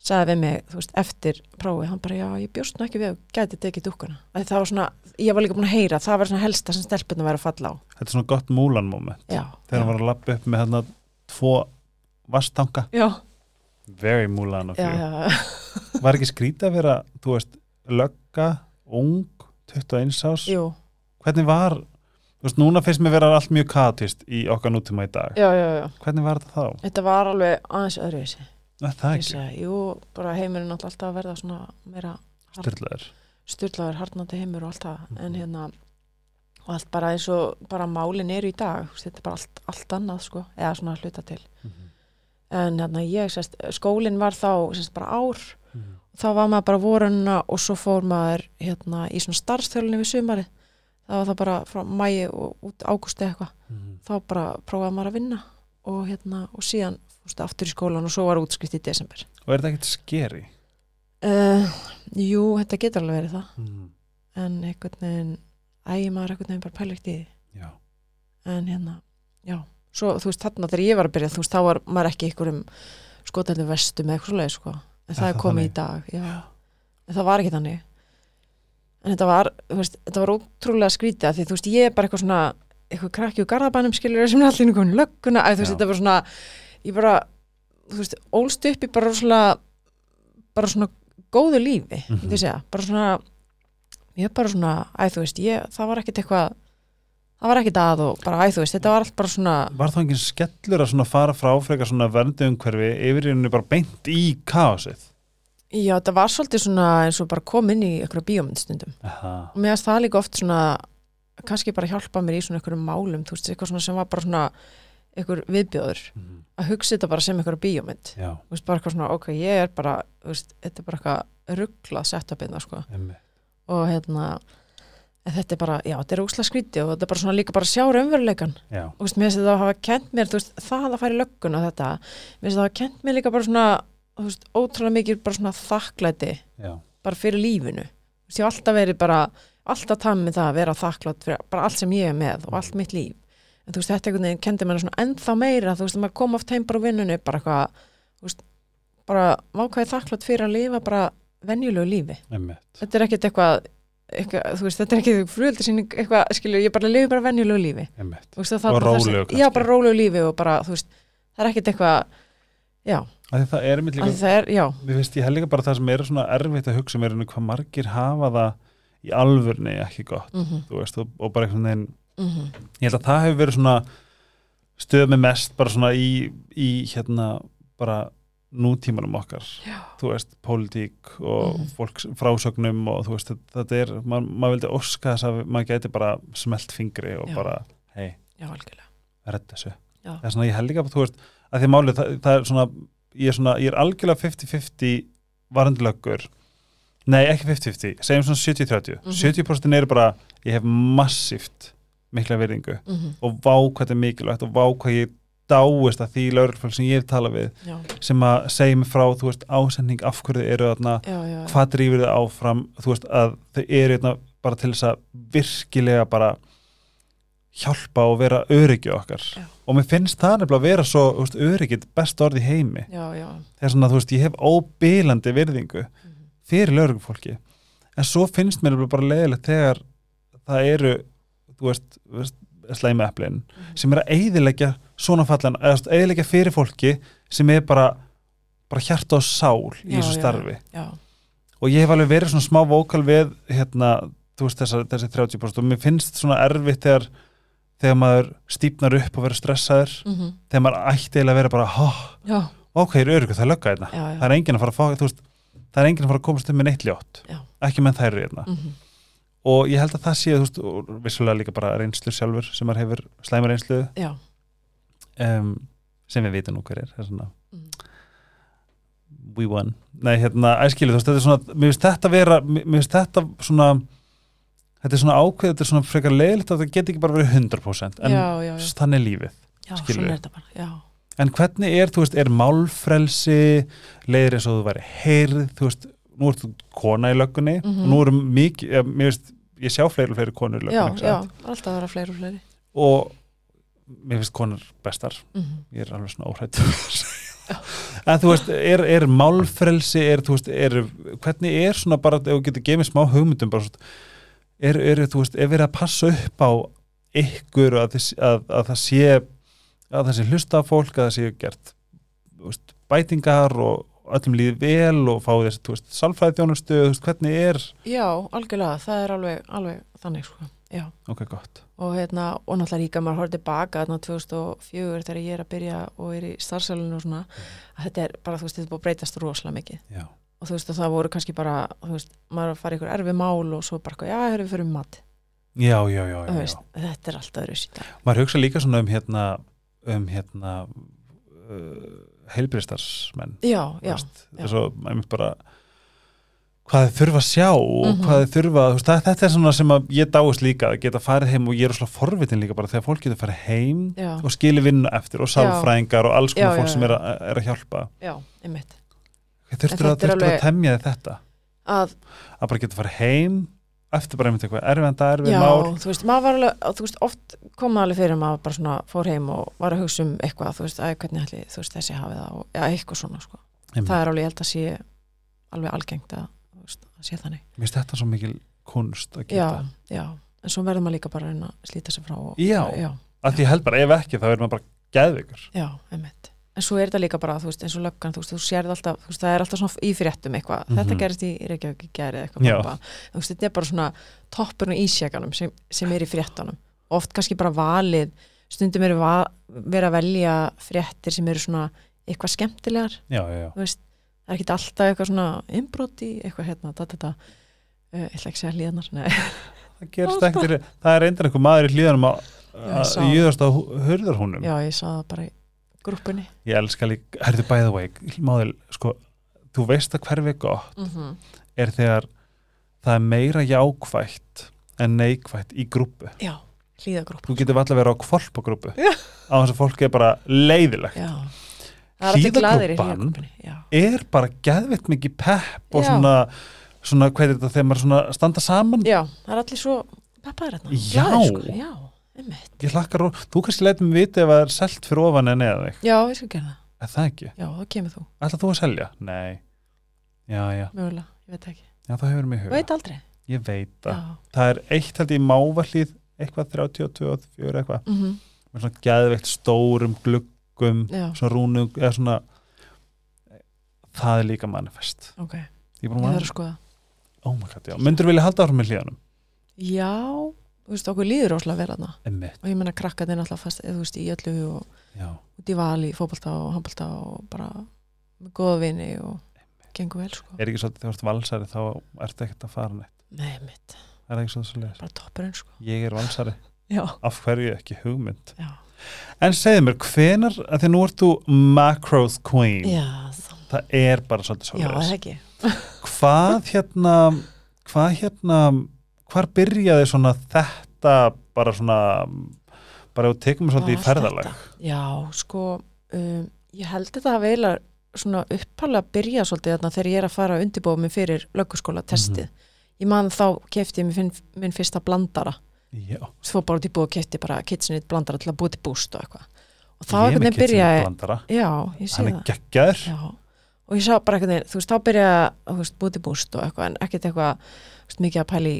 Speaker 2: sagði við mig, þú veist, eftir prófi, hann bara, já, ég bjóst nú ekki við og gæti tekið dúkkuna. Af því Það var svona, ég var líka búin að heyra, það var svona helsta sem stelpunum væri að falla á.
Speaker 1: Þetta er svona gott múlan moment
Speaker 2: Já,
Speaker 1: þegar hann var að lappa upp með hérna tvo vastanka
Speaker 2: já,
Speaker 1: very Mulan of
Speaker 2: já,
Speaker 1: you
Speaker 2: já, já,
Speaker 1: var ekki skrítið að vera, þú veist lögga, ung, 21 árs
Speaker 2: jú,
Speaker 1: hvernig var, þú veist, núna finnst mér vera allt mjög katist í okkar nútíma í dag
Speaker 2: já, já, já.
Speaker 1: hvernig var þetta þá?
Speaker 2: Þetta var alveg aðeins öðruvísi.
Speaker 1: Nei, það
Speaker 2: Ég
Speaker 1: ekki,
Speaker 2: segi, Jú, bara heimurinn átti alltaf að verða svona meira
Speaker 1: styrlaður
Speaker 2: styrlaður harnandi heimur og allt það en hérna og allt bara eins og bara málin eru í dag þú veist, þetta er bara allt, allt annað sko eða svona að hluta til
Speaker 1: Mhm.
Speaker 2: en hérna ég, sest, skólinn var þá sest, bara ár,
Speaker 1: Mhm.
Speaker 2: þá var maður bara vorunna og svo fór maður hérna í svona starfstölunni við sumari það var það bara frá mæi og út águsti eitthvað,
Speaker 1: Mhm.
Speaker 2: þá bara prófaði maður að vinna og hérna og síðan fúst, aftur í skólan og svo var útskrift í desember
Speaker 1: og er þetta ekkert skeri?
Speaker 2: uh, Jú, þetta getur alveg verið það
Speaker 1: Mhm.
Speaker 2: en einhvern veginn ægir maður einhvern veginn bara pæla ekkert í því
Speaker 1: já,
Speaker 2: en hérna, já svo þú veist þarna þegar ég var að byrja þú veist þá var maður ekki einhverjum skotandi vestum eða eitthvað svoleiðis sko en það
Speaker 1: Er
Speaker 2: er
Speaker 1: það
Speaker 2: komið
Speaker 1: þannig?
Speaker 2: í dag já. en það var ekki þannig en þetta var, þú veist, þetta var ótrúlega skrítið af því þú veist ég er bara eitthvað svona eitthvað krakki úr garðabænum skilur sem er allir einhvern veginn lögguna að þú veist
Speaker 1: Já.
Speaker 2: þetta var svona ég bara, þú veist, ólst upp í bara svona bara svona góðu lífi mm
Speaker 1: Mhm.
Speaker 2: -hmm. segja, bara svona ég bara svona, að þú veist, ég það var ekkit eitthvað það var ekkit að og bara, að þú veist, þetta var allt bara svona
Speaker 1: var þá engin skellur að svona fara frá frekar svona verndu umhverfi yfir í henni bara beint í kaosið?
Speaker 2: Já, þetta var svolítið svona eins og bara kom inn í einhverja bíómyndstundum
Speaker 1: Aha.
Speaker 2: og mér finnst það líka oft svona kannski bara hjálpa mér í svona einhverjum málum þú veist, eitthvað svona sem var bara svona einhver viðbjóður,
Speaker 1: Mhm.
Speaker 2: að hugsa þetta bara sem einhverja bíómynd,
Speaker 1: já,
Speaker 2: þú veist, bara eitthvað svona ok, ég er bara, þú veist, þetta er bara eitthvað rugglað sett upp einna, sko
Speaker 1: emmi
Speaker 2: og hérna, en þetta er bara já, þetta er úsla skríti og þetta er bara svona líka bara að sjá raunveruleikan
Speaker 1: já,
Speaker 2: og veist, mér finnst þetta að hafa kent mér þú veist, það að fara í lögguna þetta mér finnst þetta að hafa kent mér líka bara svona þú veist, ótrúlega mikið bara svona þakklæti
Speaker 1: já,
Speaker 2: bara fyrir lífinu Þú veist, ég hef alltaf verið bara, alltaf tafn með það að vera þakklátt fyrir bara allt sem ég er með og allt mitt líf en þú veist, þetta einhvern veginn kendi mér svona ennþá meira þú veist, maður kom oft heim bara úr vinnunni bara eitthvað, þú veist, bara vákvæði þakklátt fyrir að lifa bara venjulegu lífi
Speaker 1: emmi
Speaker 2: þetta er ekkert eitthvað, eitthvað þú veist, þetta er ekkert frúöldisýning eitthvað, skilju, ég bara lifi bara venjulegu lífi
Speaker 1: emmi
Speaker 2: Þú veist, og það
Speaker 1: Og
Speaker 2: er bara það sem-
Speaker 1: rólegu kannski.
Speaker 2: já, bara rólegu lífi og bara, þú veist, það er ekkert eitthvað já,
Speaker 1: það er mitt
Speaker 2: af
Speaker 1: líka
Speaker 2: því það er, já,
Speaker 1: Mér finnst ég held líka bara það sem er svona erfitt að hugsa mér en hvað margir hafa það í alvörni ekki gott
Speaker 2: mhm,
Speaker 1: þú veist, og, og bara einhvern veginn
Speaker 2: mhm,
Speaker 1: ég held að það hefur verið svona stöð með mest bara svona í, í hérna bara nútímanum okkar
Speaker 2: já,
Speaker 1: þú veist, pólitík og
Speaker 2: Mhm.
Speaker 1: fólks frásögnum og þú veist, þetta, þetta er maður maður vildi óska þess að maður gæti bara smelt fingri og
Speaker 2: Já.
Speaker 1: bara, hei,
Speaker 2: já, algjörlega
Speaker 1: redda þessu
Speaker 2: Já.
Speaker 1: það er svona, ég held líka, þú veist, að því málið það, það er svona, ég er svona, ég er algjörlega 50-50 varendlöggur nei, ekki 50-50, segjum svona 70-30
Speaker 2: Mhm.
Speaker 1: 70% er bara, ég hef massíft mikla virðingu
Speaker 2: mhm,
Speaker 1: og vá hvað þetta er mikilvægt og vá hvað ég dáist að því laurfólk sem ég hef talað við
Speaker 2: já,
Speaker 1: sem að segja mig frá, þú veist, ásending af hverju þið eru þarna,
Speaker 2: já, já, já,
Speaker 1: hvað drýfur þið áfram þú veist, að þið eru þarna bara til þess að virkilega bara hjálpa og vera öryggi okkar
Speaker 2: Já.
Speaker 1: og mér finnst það nefnilega að vera svo þú veist, öryggið best orð í heimi
Speaker 2: já, já
Speaker 1: þegar svona, þú veist, ég hef óbílandi virðingu
Speaker 2: mhm,
Speaker 1: fyrir lögreglufólki en svo finnst mér nefnilega bara leiðilegt þegar það eru, þú veist, þú veist slæmi eplin
Speaker 2: mhm.
Speaker 1: sem er að eyðileggja svona fallan, eða þú veist, eyðileggja fyrir fólki sem er bara, bara hjarta og sál í
Speaker 2: Já,
Speaker 1: þessu
Speaker 2: já.
Speaker 1: starfi
Speaker 2: já,
Speaker 1: og ég hef alveg verið svona smá vókal við hérna, þú veist, þessar, þessi 30% og mér finnst svona erfitt þegar þegar maður stýpnar upp og verður stressaður
Speaker 2: mhm,
Speaker 1: þegar maður ætti eiginlega að vera bara "Há,
Speaker 2: já,
Speaker 1: ok, ég er öryggur, það er lögga hérna
Speaker 2: já,
Speaker 1: það
Speaker 2: já
Speaker 1: er enginn að fara að fá, þú veist það er enginn að fara að komast um með neitt ljótt
Speaker 2: Já.
Speaker 1: ekki menn þær eru hérna
Speaker 2: mhm,
Speaker 1: og ég held að það sé, þú veist, og vissulega líka bara reynslu sjálfur sem maður hefur slæma reynslu
Speaker 2: já,
Speaker 1: um, sem við vitum nú hver er, það er svona
Speaker 2: mhm,
Speaker 1: we won Nei, hérna, æskilu, þú veist, þetta er svona mér finnst þetta vera, mér mér finnst þetta svona þetta er svona ákveð, þetta er svona frekar leiðilegt að það geti ekki bara verið 100% en
Speaker 2: já, já, já,
Speaker 1: þannig er lífið
Speaker 2: já,
Speaker 1: skilur
Speaker 2: svona
Speaker 1: við.
Speaker 2: er þetta bara já,
Speaker 1: en hvernig er, þú veist, er málfrelsi leiðir eins og þú væri heyrð þú veist, nú ert þú kona í löggunni
Speaker 2: Mhm.
Speaker 1: og nú eru mikið, ja, mér finnst ég sjá fleiri og fleiri konur í
Speaker 2: já,
Speaker 1: löggunni ekki
Speaker 2: já,
Speaker 1: satt?
Speaker 2: alltaf að vera fleiri og fleiri
Speaker 1: og mér finnst konur bestar
Speaker 2: mhm,
Speaker 1: ég er alveg svona óhrætt en þú veist, er, er málfrelsi er, þú veist, er, hvernig er svona bara, ef þú getur gefið smá hugmyndum bara, svona, er, er, þú veist, er verið að passa upp á ykkur að, þið- að, að það sé að það sé hlusta á fólk, að það sé gert þú veist, bætingar og öllum líði vel og fá þess, þú veist, salfræðjónustu, þú veist, hvernig er
Speaker 2: Já, algjörlega, það er alveg, alveg þannig sko. Já.
Speaker 1: ok, gott,
Speaker 2: Og, hérna, og náttúrulega líka maður horfði tilbaka þarna 2004 þegar ég er að byrja og er í starfsælunum og svona að þetta er bara, þú veist, þetta er búið að breytast rosalega mikið
Speaker 1: já,
Speaker 2: og þú veist að það voru kannski bara þú veist, maður að fara í ykkur erfi mál og svo bara eitthvað, já, höfum við fyrir mat
Speaker 1: já, já, já, já,
Speaker 2: Þú
Speaker 1: já.
Speaker 2: veist, þetta er alltaf öðru síta
Speaker 1: maður hugsa líka svona um hérna um hérna uh, heilbriðstarsmenn
Speaker 2: já, já, já.
Speaker 1: þess að einmitt bara hvað þið þurfa að sjá og
Speaker 2: Mhm.
Speaker 1: hvað þið þurfa, þú veist, það, þetta er svona sem að ég dáist líka, að geta farið heim og ég er svona forvitin líka bara þegar fólk getur farið heim
Speaker 2: já,
Speaker 1: og skili vinnu eftir og sálfræðingar og alls konar
Speaker 2: Já,
Speaker 1: fólk
Speaker 2: já,
Speaker 1: sem
Speaker 2: já.
Speaker 1: er, a, er að hjálpa
Speaker 2: já, einmitt
Speaker 1: þurftur
Speaker 2: En
Speaker 1: að,
Speaker 2: þetta er
Speaker 1: alveg... að
Speaker 2: alveg-
Speaker 1: temja þið þetta
Speaker 2: að,
Speaker 1: að bara geta farið heim eftir bara einmitt eitthvað erfiðan dag,
Speaker 2: já,
Speaker 1: erfið mál
Speaker 2: þú veist, maður var alveg að, þú veist, oft kom það alveg fyrir að maður bara svona fór heim og var að hugsa um eitthvað, þú veist, að hvernig ætli, þú veist, þessi hafið það og, já, eitthvað svona, sko
Speaker 1: Einmitt.
Speaker 2: það er alveg, ég held að sé alveg algengt að, þú veist, að sé þannig
Speaker 1: mér finnst þetta svo mikil kunst að
Speaker 2: já,
Speaker 1: geta
Speaker 2: já, en svo verður maður líka bara að reyna að slíta sig frá og,
Speaker 1: Já.
Speaker 2: já,
Speaker 1: að því ég held bara ef ekki þá er maður bara geðvikur
Speaker 2: Já, einmitt. En svo er þetta líka bara, þú veist, eins og löggan, þú veist, þú sérð alltaf, þú veist, það er alltaf svona í fréttum eitthvað. Þetta
Speaker 1: Mhm.
Speaker 2: gerist í Reykjavík í gerð eitthvað.
Speaker 1: Já.
Speaker 2: bara, bara. Þú veist, þetta er bara svona toppurinn og ísjakanum sem, sem er í fréttunum. Oft kannski bara valið, stundum eru va verið að velja fréttir sem eru svona eitthvað skemmtilegar,
Speaker 1: já, já, já,
Speaker 2: þú veist, það er ekki alltaf eitthvað svona innbroti, eitthvað hérna, þetta, þetta, uh, ég ætla ekki að segja hlíðanar, nei,
Speaker 1: það gerst ekkert það er reyndar einhver maður í hlýðanum að
Speaker 2: ég sá það.
Speaker 1: júðast á hurðarhúnum
Speaker 2: já, ég sá það bara í grúppunni.
Speaker 1: ég elska líka, herðu by the way máðil, sko, þú veist að hverfi gott
Speaker 2: Mm
Speaker 1: er þegar það er meira jákvætt en neikvætt í grúpu
Speaker 2: Já, hlíðagrúpp.
Speaker 1: þú getur alltaf verið á kvolpagrúpu
Speaker 2: Já.
Speaker 1: á þess að fólk er bara leiðilegt
Speaker 2: Já. Það er alltaf glaðir í
Speaker 1: Hlíðaklúbban?
Speaker 2: hlíðagrúppinni, já.
Speaker 1: er bara geðvitt mikið pepp og
Speaker 2: Já.
Speaker 1: svona, svona hvað er þetta þegar maður svona standa saman
Speaker 2: Já, það er allir svo peppaðir hérna.
Speaker 1: Já.
Speaker 2: Glaðir, sko. Já, einmitt.
Speaker 1: ég hlakkar og þú kannski lætum mig vita ef það er selt fyrir ofan en eða þig
Speaker 2: Já, við skal gera það.
Speaker 1: er það ekki,
Speaker 2: Já, þá kemur þú,
Speaker 1: ætlar þú að selja? nei, já já,
Speaker 2: mögulega, ég veit ekki.
Speaker 1: já það hefur mig í
Speaker 2: Þú
Speaker 1: huga
Speaker 2: veit aldrei.
Speaker 1: ég veit
Speaker 2: Já.
Speaker 1: það það er eitt held ég í mávallíð eitthvað 32 og 4 eitthvað
Speaker 2: Mm
Speaker 1: með svona geðveikt stórum gluggum
Speaker 2: Já,
Speaker 1: svona rúnum eða svona það er líka manifest
Speaker 2: ok.
Speaker 1: ég er
Speaker 2: Ég sko-
Speaker 1: búin að
Speaker 2: þarf að
Speaker 1: manifest,
Speaker 2: skoða.
Speaker 1: oh my god, já myndur vilja halda áfram með hlíðanum?
Speaker 2: Já, þú veist, okkur líður óslega vel hérna.
Speaker 1: emmitt,
Speaker 2: Og ég menna krakka þeir náttúrulega fast, eða, þú veist, í öllu og
Speaker 1: já,
Speaker 2: út í val í fótbolta og handbolta og bara með góða vini og gengur vel, sko.
Speaker 1: er ekki svolítið þegar þú ert valsari þá ertu ekkert að fara neitt
Speaker 2: Nei, mitt,
Speaker 1: er það ekki svolítið svolítið,
Speaker 2: bara toppurinn, sko.
Speaker 1: ég er valsari
Speaker 2: Já,
Speaker 1: af hverju ekki hugmynd
Speaker 2: já.
Speaker 1: en segðu mér, hvenar, að því nú ert þú macros queen,
Speaker 2: Já, það,
Speaker 1: það er bara svolítið
Speaker 2: já,
Speaker 1: svolítið
Speaker 2: það ekki.
Speaker 1: hvað hérna hvað hérna hvar byrjaði svona þetta bara svona bara við tekum svolítið í
Speaker 2: Bara allt
Speaker 1: ferðalag
Speaker 2: Já, sko, um, ég held þetta að veila svona uppalega að byrja svolítið þarna þegar ég er að fara að undirbúa mig fyrir löggaskóla testið.
Speaker 1: Mhm.
Speaker 2: Ég man þá kefti ég minn, finn- minn fyrsta blandara.
Speaker 1: já,
Speaker 2: Svo bara út í búið og kefti bara kitsinit blandara til að búið til búst og eitthvað. Og þá
Speaker 1: ég er
Speaker 2: einhvern
Speaker 1: með
Speaker 2: veginn byrjaði,
Speaker 1: blandara
Speaker 2: já, ég sé
Speaker 1: hann er
Speaker 2: það.
Speaker 1: geggjaður
Speaker 2: Já, og ég sá bara einhvern veginn, þú veist, þá byrjaði að, þú veist, búið til búst og eitthvað, en ekkert eitthvað, þú veist, mikið að pæli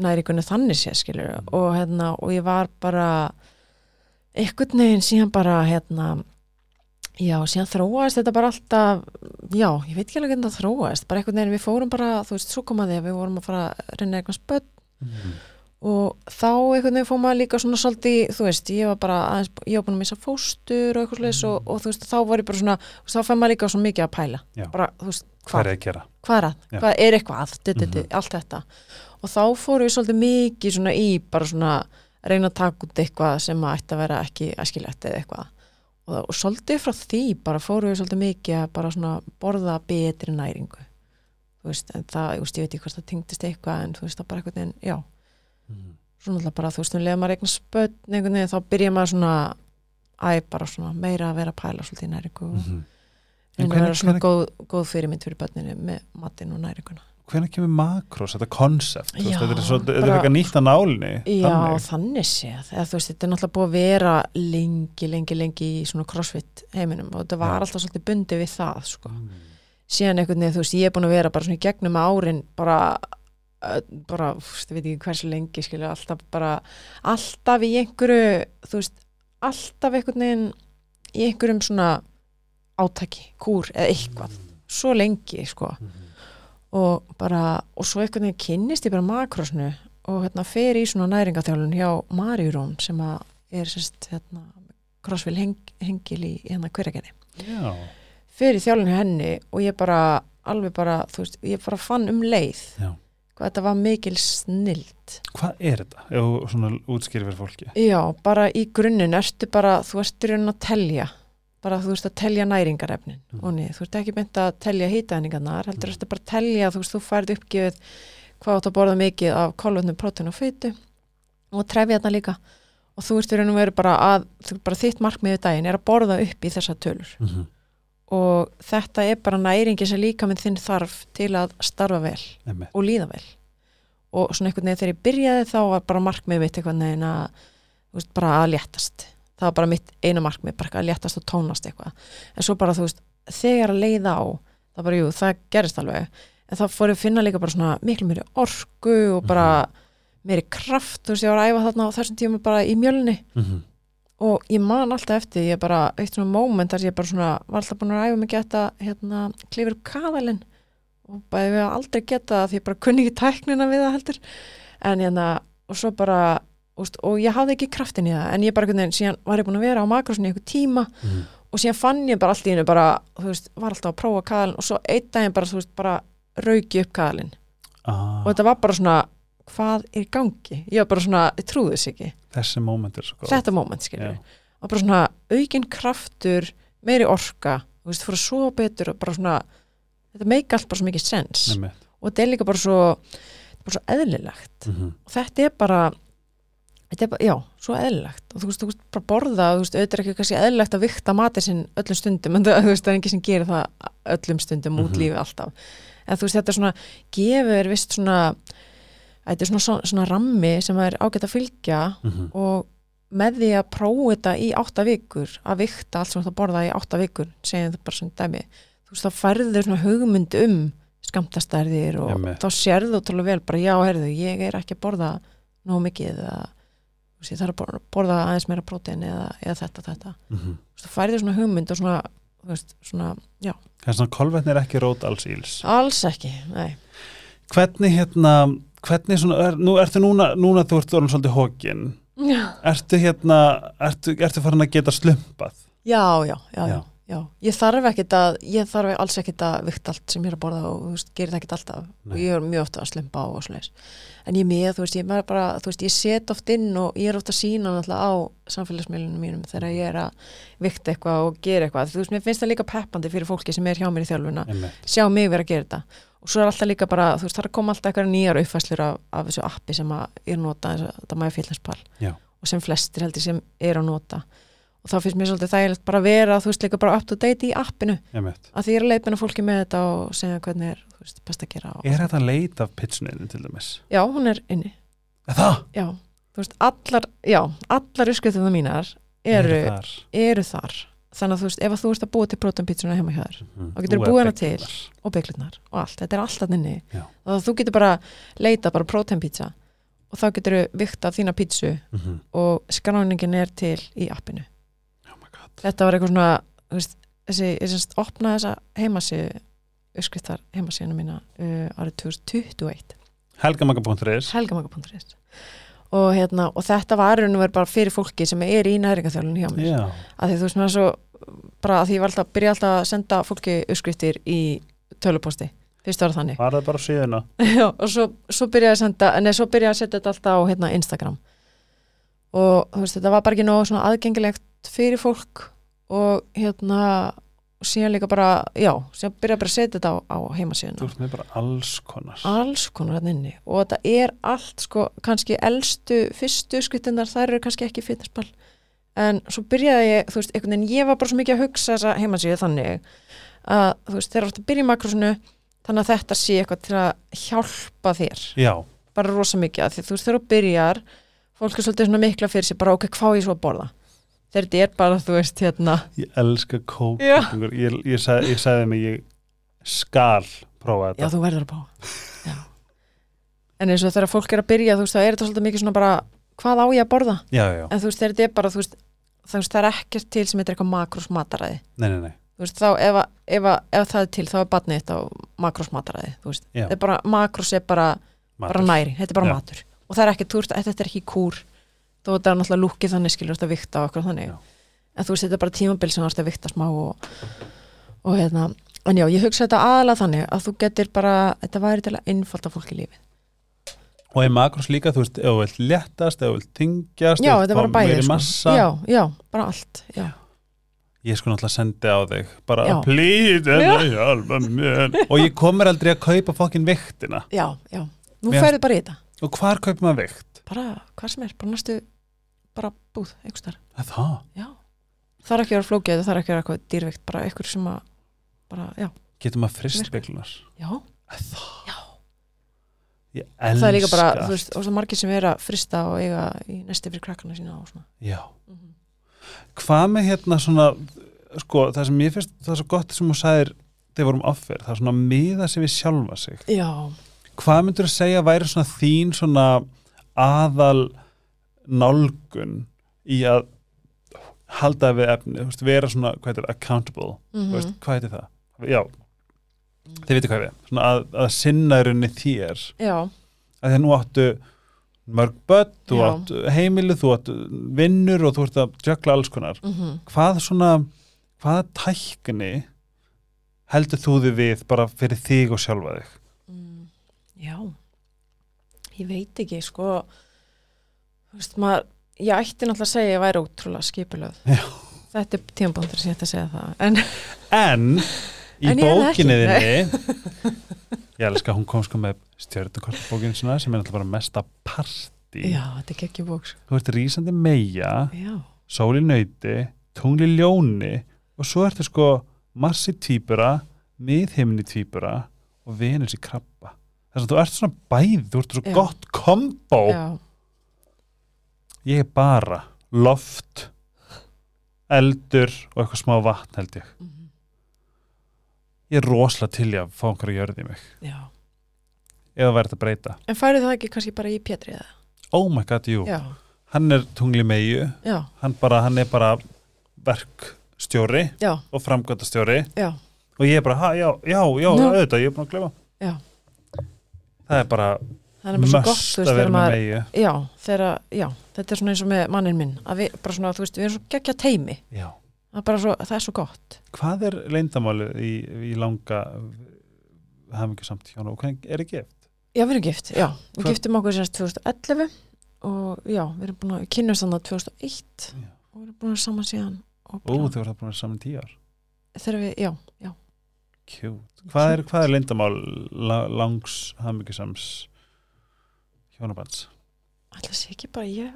Speaker 2: næringunni þannig sé, skilur, og hérna, og ég var bara, einhvern veginn síðan bara, hérna, já, síðan þróaðist þetta bara alltaf, já, ég veit ekki alveg hvernig það þróaðist, bara einhvern veginn, við fórum bara, þú veist, svo komaði að við vorum að fara að reyna eitthvað spöld
Speaker 1: Mhm.
Speaker 2: og þá einhvern veginn fór maður líka svona svolítið, þú veist, ég var bara aðeins, ég var búin að missa fóstur og eitthvað slags og, og þú veist, þá var ég bara svona, þú veist, þá fær maður líka svo mikið að pæla,
Speaker 1: Já.
Speaker 2: bara, þú veist,
Speaker 1: hvað er
Speaker 2: hvað,
Speaker 1: að gera?
Speaker 2: hvað er að,
Speaker 1: Já. Mhm.
Speaker 2: hvað er eitthvað að, du, du, du, allt þetta og þá fórum við svolítið mikið svona í bara svona reyna að taka út eitthvað sem að ætti að vera ekki æskilegt eða eitthvað og, og svolítið frá því bara fórum við svolítið mikið að bara svona borða betri næringu þú veist, en það, þú veist, ég veit ekki hvort það tengdist eitthvað en þú veist, það bara eitthvað, en já svona alltaf bara, þú veist, um leið að maður eignar spötn einhvern veginn, þá byrja maður svona æ, bara svona meira að vera að pæla svolítið í næringu og
Speaker 1: Mhm. En
Speaker 2: reyna að
Speaker 1: hvernig-
Speaker 2: vera svona
Speaker 1: hvernig-
Speaker 2: góð, góð fyrirmynd fyrir bötninu með matinn og næringuna
Speaker 1: hvenær kemur makros, þetta konsept
Speaker 2: Já,
Speaker 1: þetta er svo, þetta er
Speaker 2: bara-
Speaker 1: eitthvað nýtt að nálinni
Speaker 2: Já, þannig, séð, eða þú veist, þetta er náttúrulega búið að vera lengi, lengi, lengi í svona crossfit heiminum og þetta var
Speaker 1: Já.
Speaker 2: alltaf svolítið bundið við það, sko.
Speaker 1: Mm.
Speaker 2: Síðan einhvern veginn, þú veist, ég er búin að vera bara svona í gegnum árin, bara, ö, bara, þú veist, ég veit ekki hversu lengi, skilja, alltaf bara, alltaf í einhverju, þú veist, alltaf einhvern veginn í einhverjum svona átaki, kúr eða eitthvað,
Speaker 1: Mm.
Speaker 2: svo lengi, sko og bara, og svo einhvern veginn kynnist ég bara makrosnu og hérna fer í svona næringaþjálun hjá Marjurón sem að er sérst hérna crossfél heng, hengil í hérna hverjargerði.
Speaker 1: Já,
Speaker 2: Fer í þjálun hjá henni og ég bara alveg bara, þú veist, ég bara fann um leið
Speaker 1: Já.
Speaker 2: hvað þetta var mikil snild
Speaker 1: hvað er þetta? Ef þú svona útskýri fyrir fólki
Speaker 2: Já, bara í grunninn ertu bara, þú ert í raunin að telja bara þú ert að telja næringarefnin
Speaker 1: Mm.
Speaker 2: og niður, þú ert ekki beint að telja hýtaðningarnar heldur
Speaker 1: Mm.
Speaker 2: ertu bara að telja, þú veist, þú færð uppgjöð hvað átt að borða mikið af kálvötnum, prótun og feitu og trefi þarna líka og þú ert í raun og veru bara að, þú bara þitt markmiðu daginn er að borða upp í þessa tölur
Speaker 1: mm -hmm.
Speaker 2: og þetta er bara næringi sem líka minn þinn þarf til að starfa vel og líða vel og svona einhvern veginn þegar ég byrjaði þá var bara markmið mitt einhvern veginn að þú veist, bara að léttast það var bara mitt eina markmið, bara að léttast og tónast eitthvað en svo bara þú veist, þegar að leiða á það bara, jú, það gerist alveg en þá fór ég að finna líka bara svona miklu meiri orku og bara meiri kraft, þú veist, ég var að æfa þarna á þessum tíma bara í mjölni
Speaker 1: mm -hmm.
Speaker 2: og ég man alltaf eftir, ég bara eitt svona moment þar sem ég bara svona var alltaf búin að æfa mig geta hérna, klifur upp kaðalinn og bæði við að aldrei geta það því ég bara kunni ekki tæknina við það heldur en hérna, og svo bara úst, og ég hafði ekki kraftin í það en ég bara, einhvern veginn, síðan var ég búin að vera á makrosinni einhver tíma
Speaker 1: Mhm.
Speaker 2: og síðan fann ég bara allt í hennu bara, þú veist, var alltaf að prófa kaðalinn og svo einn daginn bara, þú veist, bara rauki upp kaðalinn
Speaker 1: ah,
Speaker 2: og þetta var bara svona, hvað er í gangi ég var bara svona, ég trúði þess ekki
Speaker 1: Þessi moment er svo góð
Speaker 2: þetta moment, skilur og bara svona aukin kraftur meiri orka, þú veist, fór að svo betur og bara svona, þetta meik allt bara svo mikið sens
Speaker 1: Einmitt.
Speaker 2: og þetta er líka bara svo bara svo eðlilegt
Speaker 1: Mhm.
Speaker 2: og þetta er bara þetta er bara, já, svo eðlilegt og þú veist, þú veist, bara borða, þú veist, auðvitað er ekki kannski eðlilegt að vikta matið sinn öllum stundum en það, þú veist, það er engin sem gerir það öllum stundum út
Speaker 1: Mhm.
Speaker 2: lífi alltaf en þú veist, þetta er svona, gefur vist svona, þetta er svona, svona, svona rammi sem er ágætt að fylgja
Speaker 1: Mhm.
Speaker 2: og með því að prófa þetta í átta vikur að vikta allt sem þú ert að borða í átta vikur segjum það bara sem dæmi þú veist þá færðu þér svona hugmynd um skamtastærðir og
Speaker 1: Einmitt.
Speaker 2: þá sérðu þú tólu vel bara já, heyrðu, ég er ekki að borða nóg mikið eða þú veist, ég þarf að borða, borða aðeins meira prótein eða, eða þetta, þetta þú
Speaker 1: Mhm.
Speaker 2: veist, þá færðu þér svona hugmynd og svona, þú veist, svona
Speaker 1: Þess að kolvetni er ekki rót alls íls
Speaker 2: alls ekki, nei
Speaker 1: Hvernig hérna Hvernig svona, er, nú ertu núna, núna þú ert orðin svolítið hókin,
Speaker 2: já,
Speaker 1: ertu hérna, ertu, ertu farin að geta slumpað?
Speaker 2: já, já, já,
Speaker 1: Já.
Speaker 2: já. ég þarf ekkit að, ég þarf alls ekkit að vikta allt sem ég er að borða og þú veist, gerir það ekkit alltaf
Speaker 1: Nei.
Speaker 2: og ég er mjög ofta að slempa á og svoleiðis en ég er með, þú veist, ég er með bara, þú veist, ég set oft inn og ég er ofta að sína náttúrulega á samfélagsmiðlunum mínum þegar ég er að vikta eitthvað og gera eitthvað, þú veist, mér finnst það líka peppandi fyrir fólki sem er hjá mér í þjálfuna
Speaker 1: Einmitt.
Speaker 2: sjá mig vera að gera þetta og svo er alltaf líka bara, þú veist, það er að koma alltaf eitthvað nýjar uppfæslur af, af þessu appi sem að er nota, þetta maður félagspall
Speaker 1: Já.
Speaker 2: og sem flestir heldur sem er að nota og þá finnst mér svolítið þægilegt bara að vera, þú veist, líka bara up to date í appinu
Speaker 1: Einmitt.
Speaker 2: að því ég er að leipina fólki með þetta og segja hvernig er, þú veist, best að gera og...
Speaker 1: Er þetta að leita af pitchuninu til dæmis?
Speaker 2: Já, hún er inni,
Speaker 1: Er það?
Speaker 2: já þú veist, allar, já, allar uppskriftum mínar eru,
Speaker 1: þar.
Speaker 2: eru þar þannig að þú veist, ef að þú veist að búa til prótumpítsuna heima hjá þér
Speaker 1: Mhm.
Speaker 2: Og geturðu
Speaker 1: Þú
Speaker 2: búið
Speaker 1: er
Speaker 2: hana til?
Speaker 1: byggður.
Speaker 2: og bygglunar og allt, þetta er alltaf inni
Speaker 1: Já.
Speaker 2: og þú getur bara leita bara proteinpizza og þá getur þú vikta þína pizzu
Speaker 1: Mhm.
Speaker 2: og skráningin er til í appinu
Speaker 1: Oh my god.
Speaker 2: þetta var eitthvað svona þú veist, þessi, ég semst opnaði þessa heimasíðu uppskriftar heimasíðuna mína uh, árið 2021
Speaker 1: Helgamaka.is
Speaker 2: helgamanga.is og, hérna, og þetta var í raun og verið bara fyrir fólki sem er í næringaþjálun hjá mér
Speaker 1: Já,
Speaker 2: að því þú veist mér svo bara að því ég var alltaf að byrja alltaf að senda fólki uppskriftir í töluposti fyrst var það þannig
Speaker 1: var það bara á síðuna
Speaker 2: Já, og svo, svo byrjaði að senda, nei, svo byrjaði að setja þetta alltaf á hérna, Instagram og þú veist, þetta var bara ekki nóg svona aðgengilegt fyrir fólk og hérna síðan líka bara, já, síðan byrjaði bara að setja þetta á, á
Speaker 1: Þú
Speaker 2: heimasíðuna
Speaker 1: ert með bara alls konar
Speaker 2: alls konar hann inni og þetta er allt sko, kannski elstu fyrstu skrittinnar, þær eru kannski ekki fitnessball en svo byrjaði ég þú veist, einhvern veginn, ég var bara svo mikið að hugsa þessa heimasíðu þannig að þú veist, þegar þú ert að byrja í makrosinu þannig að þetta sé eitthvað til að hjálpa þér
Speaker 1: já,
Speaker 2: bara rosa mikið að því þú veist þegar þú byrjar fólk er svolítið svona mikla fyrir sér bara ok, hvað á ég svo að borða þegar þetta er bara, þú veist, hérna
Speaker 1: ég elska kók
Speaker 2: Já.
Speaker 1: ég, ég, ég, sag, ég sagði mig ég skal prófa
Speaker 2: já,
Speaker 1: þetta
Speaker 2: þú verður að bá já. en eins og þegar fólk er að byrja þú veist, þá er þetta svolítið mikið svona bara hvað á ég að borða,
Speaker 1: já, já, já,
Speaker 2: en þú veist, þegar þetta er bara þú veist, þú veist, það er ekkert til sem þetta er eitthvað makrosmataræði,
Speaker 1: nei, nei, nei
Speaker 2: þú veist, þá ef, að- ef, að- ef það er til, þá er batnið þetta á makrosmataræði, þú veist,
Speaker 1: Já.
Speaker 2: þetta er bara makros er bara, bara næri, þetta er bara
Speaker 1: Já.
Speaker 2: matur og það er ekki, þú veist, þetta er ekki kúr þú veist, það er náttúrulega lúkið þannig skilur þetta vikta og okkur þannig,
Speaker 1: Já.
Speaker 2: en þú veist, þetta er bara tímabil sem þú ert að vikta smá og, og hérna, en já, ég hugsa þetta aðalega þannig að þú getur bara, þetta væri til að einfalda fólki lífið,
Speaker 1: og í makros líka, þú veist, ef þú vilt léttast ef þú vilt þingjast,
Speaker 2: já,
Speaker 1: ef þú
Speaker 2: þetta
Speaker 1: vilt
Speaker 2: er bara
Speaker 1: fá
Speaker 2: bæði
Speaker 1: meiri
Speaker 2: sko.
Speaker 1: massa
Speaker 2: já, já, bara allt já,
Speaker 1: ég sko náttúrulega sendi á þig bara
Speaker 2: Já.
Speaker 1: please, en ég hjálpa mér og ég kommer aldrei að kaupa fokkin viktina
Speaker 2: já, já. nú
Speaker 1: Mér-
Speaker 2: ferðu bara í þetta
Speaker 1: og hvar kaupir maður vikt?
Speaker 2: bara, hvað sem er, bara næstu bara búð, einhvers þar
Speaker 1: Það er það,
Speaker 2: já, það er ekki að vera flókið það er ekki að vera eitthvað dýrveikt, bara einhver sem að bara, já,
Speaker 1: getur maður fristbeglunar
Speaker 2: já
Speaker 1: ég elska
Speaker 2: það er líka bara, þú veist, og það margir sem er að frista og eiga í næsti fyrir krakkana sína og svona
Speaker 1: já
Speaker 2: Mhm.
Speaker 1: hvað með hérna svona sko, það sem ég finnst, það er svo gott sem þú sagðir þegar við vorum offer, það er svona að miða sig við sjálfa sig.
Speaker 2: já,
Speaker 1: Hvað myndur að segja væri svona þín svona aðal nálgun í að halda við efni, þú veist, vera svona hvað heitir, accountable,
Speaker 2: mm
Speaker 1: þú veist, hvað heitir það? Já, þið veitir hvað við svona að, að sinna í rauninni þér
Speaker 2: já,
Speaker 1: að því að nú áttu mörg börn, þú
Speaker 2: Já.
Speaker 1: áttu heimilu þú áttu vinnur og þú ert að jökla alls konar
Speaker 2: mm
Speaker 1: hvað svona hvaða tækni heldur þú þið við bara fyrir þig og sjálfa þig
Speaker 2: mm, já ég veit ekki, sko þú veist, maður ég ætti náttúrulega að segja að ég væri ótrúlega skipulöð
Speaker 1: Já.
Speaker 2: þetta er tímabóndur sem ég ætti að segja það en
Speaker 1: en í
Speaker 2: En ég er það ekki,
Speaker 1: bókinni þinni ég elska að hún kom sko með stjörnukortabókinu sinna sem er alltaf bara mesta partí
Speaker 2: já, þetta er sko. ekki bóks
Speaker 1: þú ert rísandi meia
Speaker 2: já,
Speaker 1: sól í nöyti, tungli ljóni og svo ertu sko massi tvíbura, miðhimni tvíbura og venus í krabba þess að þú ert svona bæði, þú ert svo
Speaker 2: Já.
Speaker 1: gott kombo
Speaker 2: já,
Speaker 1: ég er bara loft eldur og eitthvað smá vatn held ég
Speaker 2: mhm,
Speaker 1: ég er rosalega til ég að fá einhverju jörð í mig
Speaker 2: já
Speaker 1: ef það væri þetta að breyta
Speaker 2: en færið það ekki kannski bara í Pétri eða
Speaker 1: oh my god, jú,
Speaker 2: já,
Speaker 1: hann er tungli meiu
Speaker 2: já,
Speaker 1: hann, bara, hann er bara verkstjóri
Speaker 2: já,
Speaker 1: og framgöndastjóri
Speaker 2: já
Speaker 1: og ég er bara, ha, já, já, já,
Speaker 2: Já.
Speaker 1: auðvitað, ég er búin að glema
Speaker 2: Já.
Speaker 1: það er bara
Speaker 2: það er bara svo gott,
Speaker 1: möst
Speaker 2: þú veist,
Speaker 1: að
Speaker 2: þegar
Speaker 1: vera með
Speaker 2: maður
Speaker 1: megi
Speaker 2: Já, þeirra, já, þetta er svona eins og með mannin minn að við, bara svona, þú veist, við erum svo geggja teimi
Speaker 1: já.
Speaker 2: það er bara svo, það er svo gott
Speaker 1: hvað er leindamálið í, í langa hafmyggjussamt hjónu og hvernig er ekki eft?
Speaker 2: Já, við erum gift, já, við
Speaker 1: Hvað-
Speaker 2: giftum okkur sérst 2011 og já, við erum búin að kynnast þannig 2001
Speaker 1: Já.
Speaker 2: og við erum búin að saman síðan og
Speaker 1: Ú,
Speaker 2: bara,
Speaker 1: þau voru það búin að vera saman í tíu ár
Speaker 2: þegar við, já, já
Speaker 1: Cute. Hvað er, hvað er leindamál la, langs hafmyggjusams hjónabands?
Speaker 2: Ætla sé ekki bara, ég,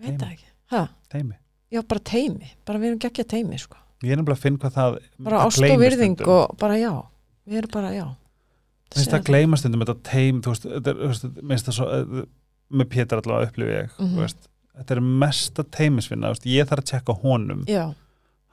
Speaker 2: ég veit
Speaker 1: Teimi.
Speaker 2: það ekki ha,
Speaker 1: Teimi.
Speaker 2: Já, bara teimi, bara við erum geggja teimi, sko
Speaker 1: Ég er nefnilega að finna hvað það
Speaker 2: bara
Speaker 1: Mm, það
Speaker 2: ást og
Speaker 1: gleymist
Speaker 2: virðing
Speaker 1: stundum.
Speaker 2: og bara já við erum bara, já
Speaker 1: Mér finnst það gleymast stundum þetta teim, þú veist, þetta er, þú veist, mér finnst það svo, eh, með Pétur allavega upplifi ég,
Speaker 2: Mhm.
Speaker 1: þú veist, þetta er mesta teimisvinna, þú veist, ég þarf að tjekka á honum,
Speaker 2: Já,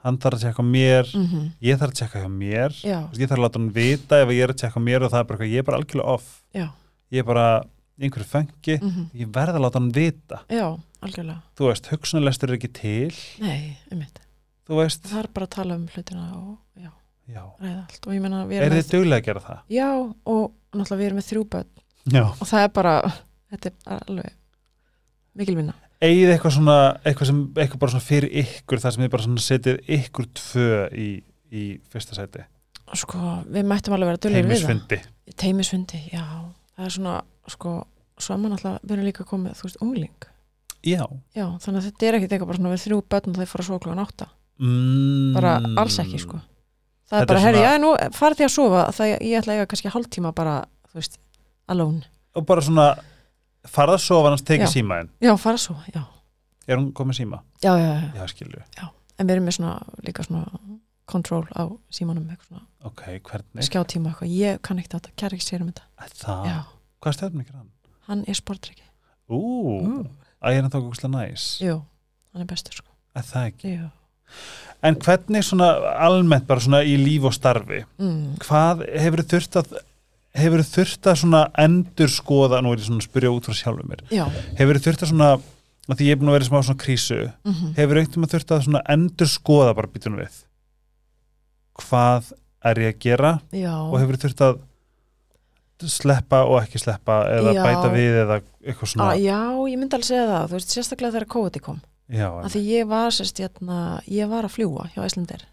Speaker 1: hann þarf að tjekka á mér,
Speaker 2: mm
Speaker 1: ég þarf að tjekka á mér,
Speaker 2: já,
Speaker 1: þú veist, ég þarf að láta hann vita ef ég er að tjekka á mér og það er bara eitthvað, ég er bara algjörlega off,
Speaker 2: já,
Speaker 1: ég er bara í einhverju fengi,
Speaker 2: mm
Speaker 1: ég verð að láta hann vita,
Speaker 2: já, algjörlega
Speaker 1: þú veist, hugsunalestur er ekki til,
Speaker 2: Nei, einmitt
Speaker 1: þú veist,
Speaker 2: það er bara að tala um hlutina og já,
Speaker 1: já,
Speaker 2: ræða allt og ég meina við
Speaker 1: er
Speaker 2: erum
Speaker 1: þið
Speaker 2: með,
Speaker 1: duglega að gera það?
Speaker 2: já og náttúrulega við erum með þrjú börn
Speaker 1: Já.
Speaker 2: og það er bara, þetta er alveg mikil vinna
Speaker 1: Eigið eitthvað svona, eitthvað sem, eitthvað bara svona fyrir ykkur, það sem þið bara svona setið ykkur tvö í, í fyrsta sæti?
Speaker 2: sko, við mættum alveg vera dullir við það
Speaker 1: heimisfundi
Speaker 2: teimisfundi, já, það er svona sko, svo er maður náttúrulega við erum líka komið, þú veist, ungling
Speaker 1: já
Speaker 2: já, þannig að þetta er ekkit eitthvað bara svona við þrjú börn og þau fara að svo klokkan átta
Speaker 1: mm.
Speaker 2: bara alls ekki, sko það
Speaker 1: Þetta er
Speaker 2: er bara, herri,
Speaker 1: svona-
Speaker 2: já, nú farið því að sofa það ég ætla að eiga kannski hálftíma bara, þú veist, alone
Speaker 1: og bara svona farða að sofa hans tekið
Speaker 2: Já.
Speaker 1: símaðin
Speaker 2: já, fara að sofa, já,
Speaker 1: er hún komið síma?
Speaker 2: já, já, já.
Speaker 1: já skilju
Speaker 2: en við erum með svona líka svona control á símanum eitthvað svona,
Speaker 1: ok, hvernig?
Speaker 2: skjátíma eitthvað ég kann ekkert þetta, kæra ekki sér um þetta
Speaker 1: Æ, Það,
Speaker 2: já,
Speaker 1: hvað stefnum ekki hann?
Speaker 2: hann er sportryggi
Speaker 1: Ú,
Speaker 2: mm.
Speaker 1: að ég er þá góðslega næs
Speaker 2: jú, hann er bestur sko
Speaker 1: Æ, það ekki
Speaker 2: jú.
Speaker 1: En hvernig svona almennt bara svona í líf og starfi
Speaker 2: Mm.
Speaker 1: hvað hefur þurft að hefur þurft að svona endur skoða nú er ég svona að spyrja út frá sjálfum mér
Speaker 2: já,
Speaker 1: hefur þurft að svona að því ég er búin að vera í smá svona krísu
Speaker 2: mm
Speaker 1: hefur einhvern veginn þurft að svona endur skoða bara býtunum við hvað er ég að gera
Speaker 2: já
Speaker 1: og hefur þurft að sleppa og ekki sleppa eða
Speaker 2: Já.
Speaker 1: bæta við eða eitthvað svona
Speaker 2: Á, Ah, já, ég myndi alveg segja það, þú veist, sérstaklega þegar COVID kom
Speaker 1: já,
Speaker 2: að því ég var sérst, hérna, ég var að fljúa hjá Íslandir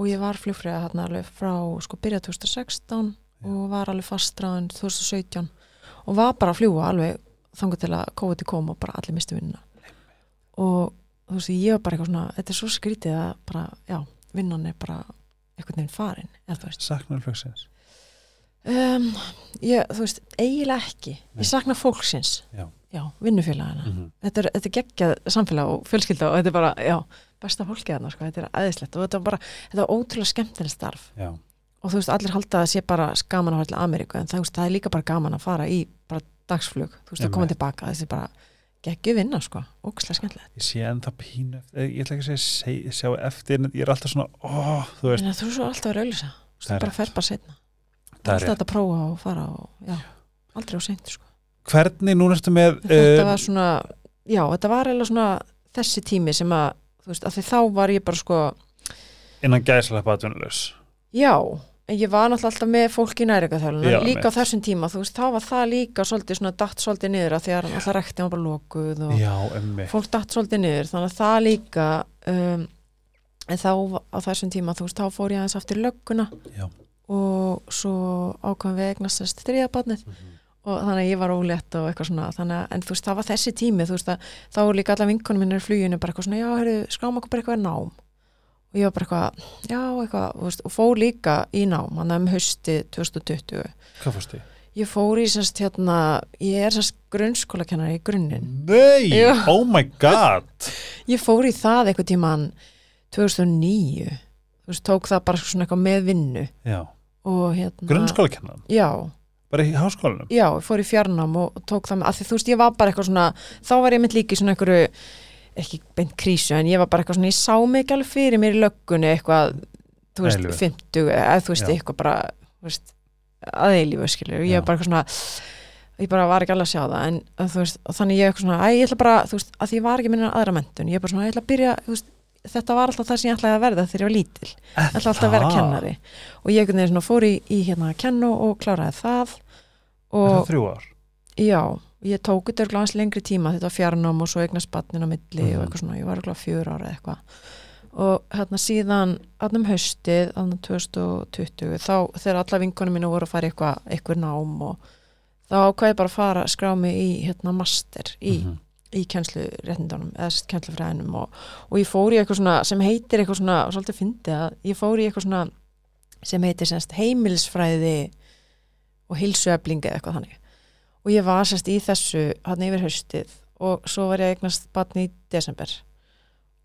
Speaker 2: og ég var flugfræða hérna alveg frá sko byrja 2016 og var alveg fastræðan 2017 og var bara að fljúa alveg þangur til að COVID kom og bara allir misti vinnuna og þú veist, ég var bara eitthvað svona þetta er svo skrítið að bara, já, vinnan er bara eitthvað nefn farin eða þú veist
Speaker 1: saknar flugsins
Speaker 2: um, ég, þú veist, eiginlega ekki
Speaker 1: Nei.
Speaker 2: ég sakna fólksins
Speaker 1: Já.
Speaker 2: vinnufélagina
Speaker 1: mm -hmm.
Speaker 2: þetta er, þetta er geggjað samfélag og fjölskylda og þetta er bara, já, besta fólkið þarna, sko, þetta er aðeinslegt og þetta er bara, þetta er ótrúlega skemmtileg starf
Speaker 1: já,
Speaker 2: og þú veist, allir halda að sé bara gaman að fara til Ameríku en það, þú veist, það er líka bara gaman að fara í bara dagsflug, þú veist, að koma
Speaker 1: Einmitt.
Speaker 2: tilbaka þessi bara geggju vinna, sko, ókslega skemmtilegt
Speaker 1: ég sé ennþá pínu eftir- eh, ég ætla ekki að segja, seg- sjá eftir en ég er alltaf svona, ó, þú veist
Speaker 2: en þú er svo alltaf að rauðlýsa, þú veist,
Speaker 1: Það er
Speaker 2: þú bara
Speaker 1: rétt.
Speaker 2: fer bara setna
Speaker 1: Það er
Speaker 2: alltaf þetta að prófa og fara og, já, aldrei á seint, sko
Speaker 1: hvernig núna ertu með
Speaker 2: þetta
Speaker 1: eh,
Speaker 2: var svona já, þetta var eiginlega svona þessi tími sem að, þú veist, af því þá var ég bara sko,
Speaker 1: innan gæslepa atvinnulegs
Speaker 2: já en ég var náttúrulega alltaf með fólk í
Speaker 1: Já,
Speaker 2: nærikaþjálun líka
Speaker 1: einmitt.
Speaker 2: á þessum tíma, þú veist, þá var það líka svolítið svona datt svolítið niður að því að alltaf rektin var bara lokuð og
Speaker 1: já, emmi
Speaker 2: fólk datt svolítið niður, þannig að það líka um, en þá var- á þessum tíma, þú veist, þá fór ég aðeins aftur í lögguna
Speaker 1: Já.
Speaker 2: og svo ákvæm við eignast þess þriðabarnið og þannig að ég var ólétt og eitthvað svona þannig að, en þú veist, það var þessi tími þú veist að þá er líka alla vinkunum minni í fluginu bara eitthvað svona, já, heyrðu, skráma okkur bara eitthvað í nám og ég var bara eitthvað, já, eitthvað þú veist, og fór líka í nám, hann um hausti 2020,
Speaker 1: hvað fórst þið?
Speaker 2: ég fór í sérst hérna, ég er sérst grunnskólakennari í grunninn,
Speaker 1: nei,
Speaker 2: Jú.
Speaker 1: oh my god
Speaker 2: ég fór í það eitthvað tíman 2009 þú veist, tók það bara svona eitthvað með vinnu
Speaker 1: já,
Speaker 2: og hérna
Speaker 1: grunnskólakennan,
Speaker 2: Já,
Speaker 1: bara í háskólanum
Speaker 2: Já, ég fór í fjarnám og og tók það með, af því þú veist, ég var bara eitthvað svona, þá var ég mynd líka í svona einhverju, ekki beint krísu, en ég var bara eitthvað svona, ég sá mig ekki alveg fyrir mér í löggunni eitthvað, þú veist,
Speaker 1: Eilífu.
Speaker 2: 50, eða þú veist,
Speaker 1: Já.
Speaker 2: eitthvað bara, þú veist, að eilífu, skilur, ég
Speaker 1: Já.
Speaker 2: var bara eitthvað svona, ég bara var ekki alveg að sjá það, en að þú veist, og þannig ég eitthvað svona, æ, ég ætla bara, þú veist, að því ég var ekki minna aðra mentun, ég bara svona, ég ætla að byrja, þú veist, þetta var alltaf það sem ég ætlaði að verða þegar ég var lítil ég ætla alltaf að vera
Speaker 1: það?
Speaker 2: kennari og ég einhvern veginn svona fór í, í hérna að kennu og kláraði það
Speaker 1: er
Speaker 2: og
Speaker 1: það þrjú ár?
Speaker 2: Já, ég tók þetta örugglega aðeins lengri tíma þetta var fjarnám og svo eignast batnin á milli
Speaker 1: Mhm.
Speaker 2: og eitthvað svona, ég var eitthvað fjör ára eða eitthvað og hérna síðan hérna um haustið, hérna 2020 þá þegar alla vinkunum mínu voru að fara í eitthvað, eitthvað nám og þá ákvað ég bara að fara að skrá mig í hérna master í,
Speaker 1: Mhm.
Speaker 2: í kennsluréttindunum eða sérst kennslufræðinum og, og ég fór í eitthvað svona sem heitir eitthvað svona, og svolítið fyndið að ég fór í eitthvað svona sem heitir semst heimilsfræði og hilsueflinga eða eitthvað þannig og ég var sérst í þessu hann yfir haustið og svo var ég að eignast batni í desember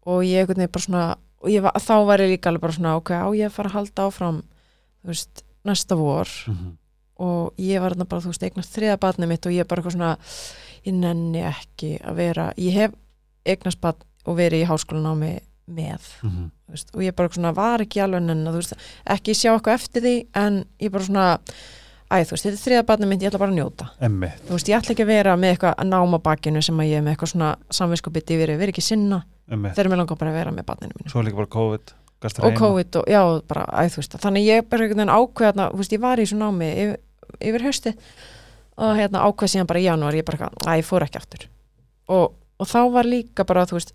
Speaker 2: og ég einhvern veginn bara svona og ég var, þá var ég líka alveg bara svona ok, á ég að fara að halda áfram þú veist, næsta vor
Speaker 1: Mhm.
Speaker 2: og ég var þarna bara, þú veist, eignast þriða batni mitt og ég bara eitthvað svona ég nenni ekki að vera ég hef eignast batn og verið í háskólanámi með
Speaker 1: Mhm.
Speaker 2: þú veist, og ég bara svona var ekki alveg nenni þú veist, ekki sjá eitthvað eftir því en ég bara svona, æ, þú veist, þetta er þriða batni mitt, ég ætla bara að njóta
Speaker 1: emmi,
Speaker 2: þú veist, ég ætla ekki að vera með eitthvað að náma bakinu sem að ég er með eitthvað svona samvinskupið yfir, ég verið ekki sinna,
Speaker 1: emmi
Speaker 2: þegar mér langar bara að vera með batninu mínu
Speaker 1: svo er líka bara COVID Gast
Speaker 2: og
Speaker 1: reyna.
Speaker 2: COVID og, já, bara, æ, þú veist þannig ég bara einhvern veginn ákveðna, þú veist, ég var í svona námi yfir, yfir hausti og hérna ákveð síðan bara í janúar, ég bara eitthvað, æ, ég fór ekki aftur og, og þá var líka bara, þú veist,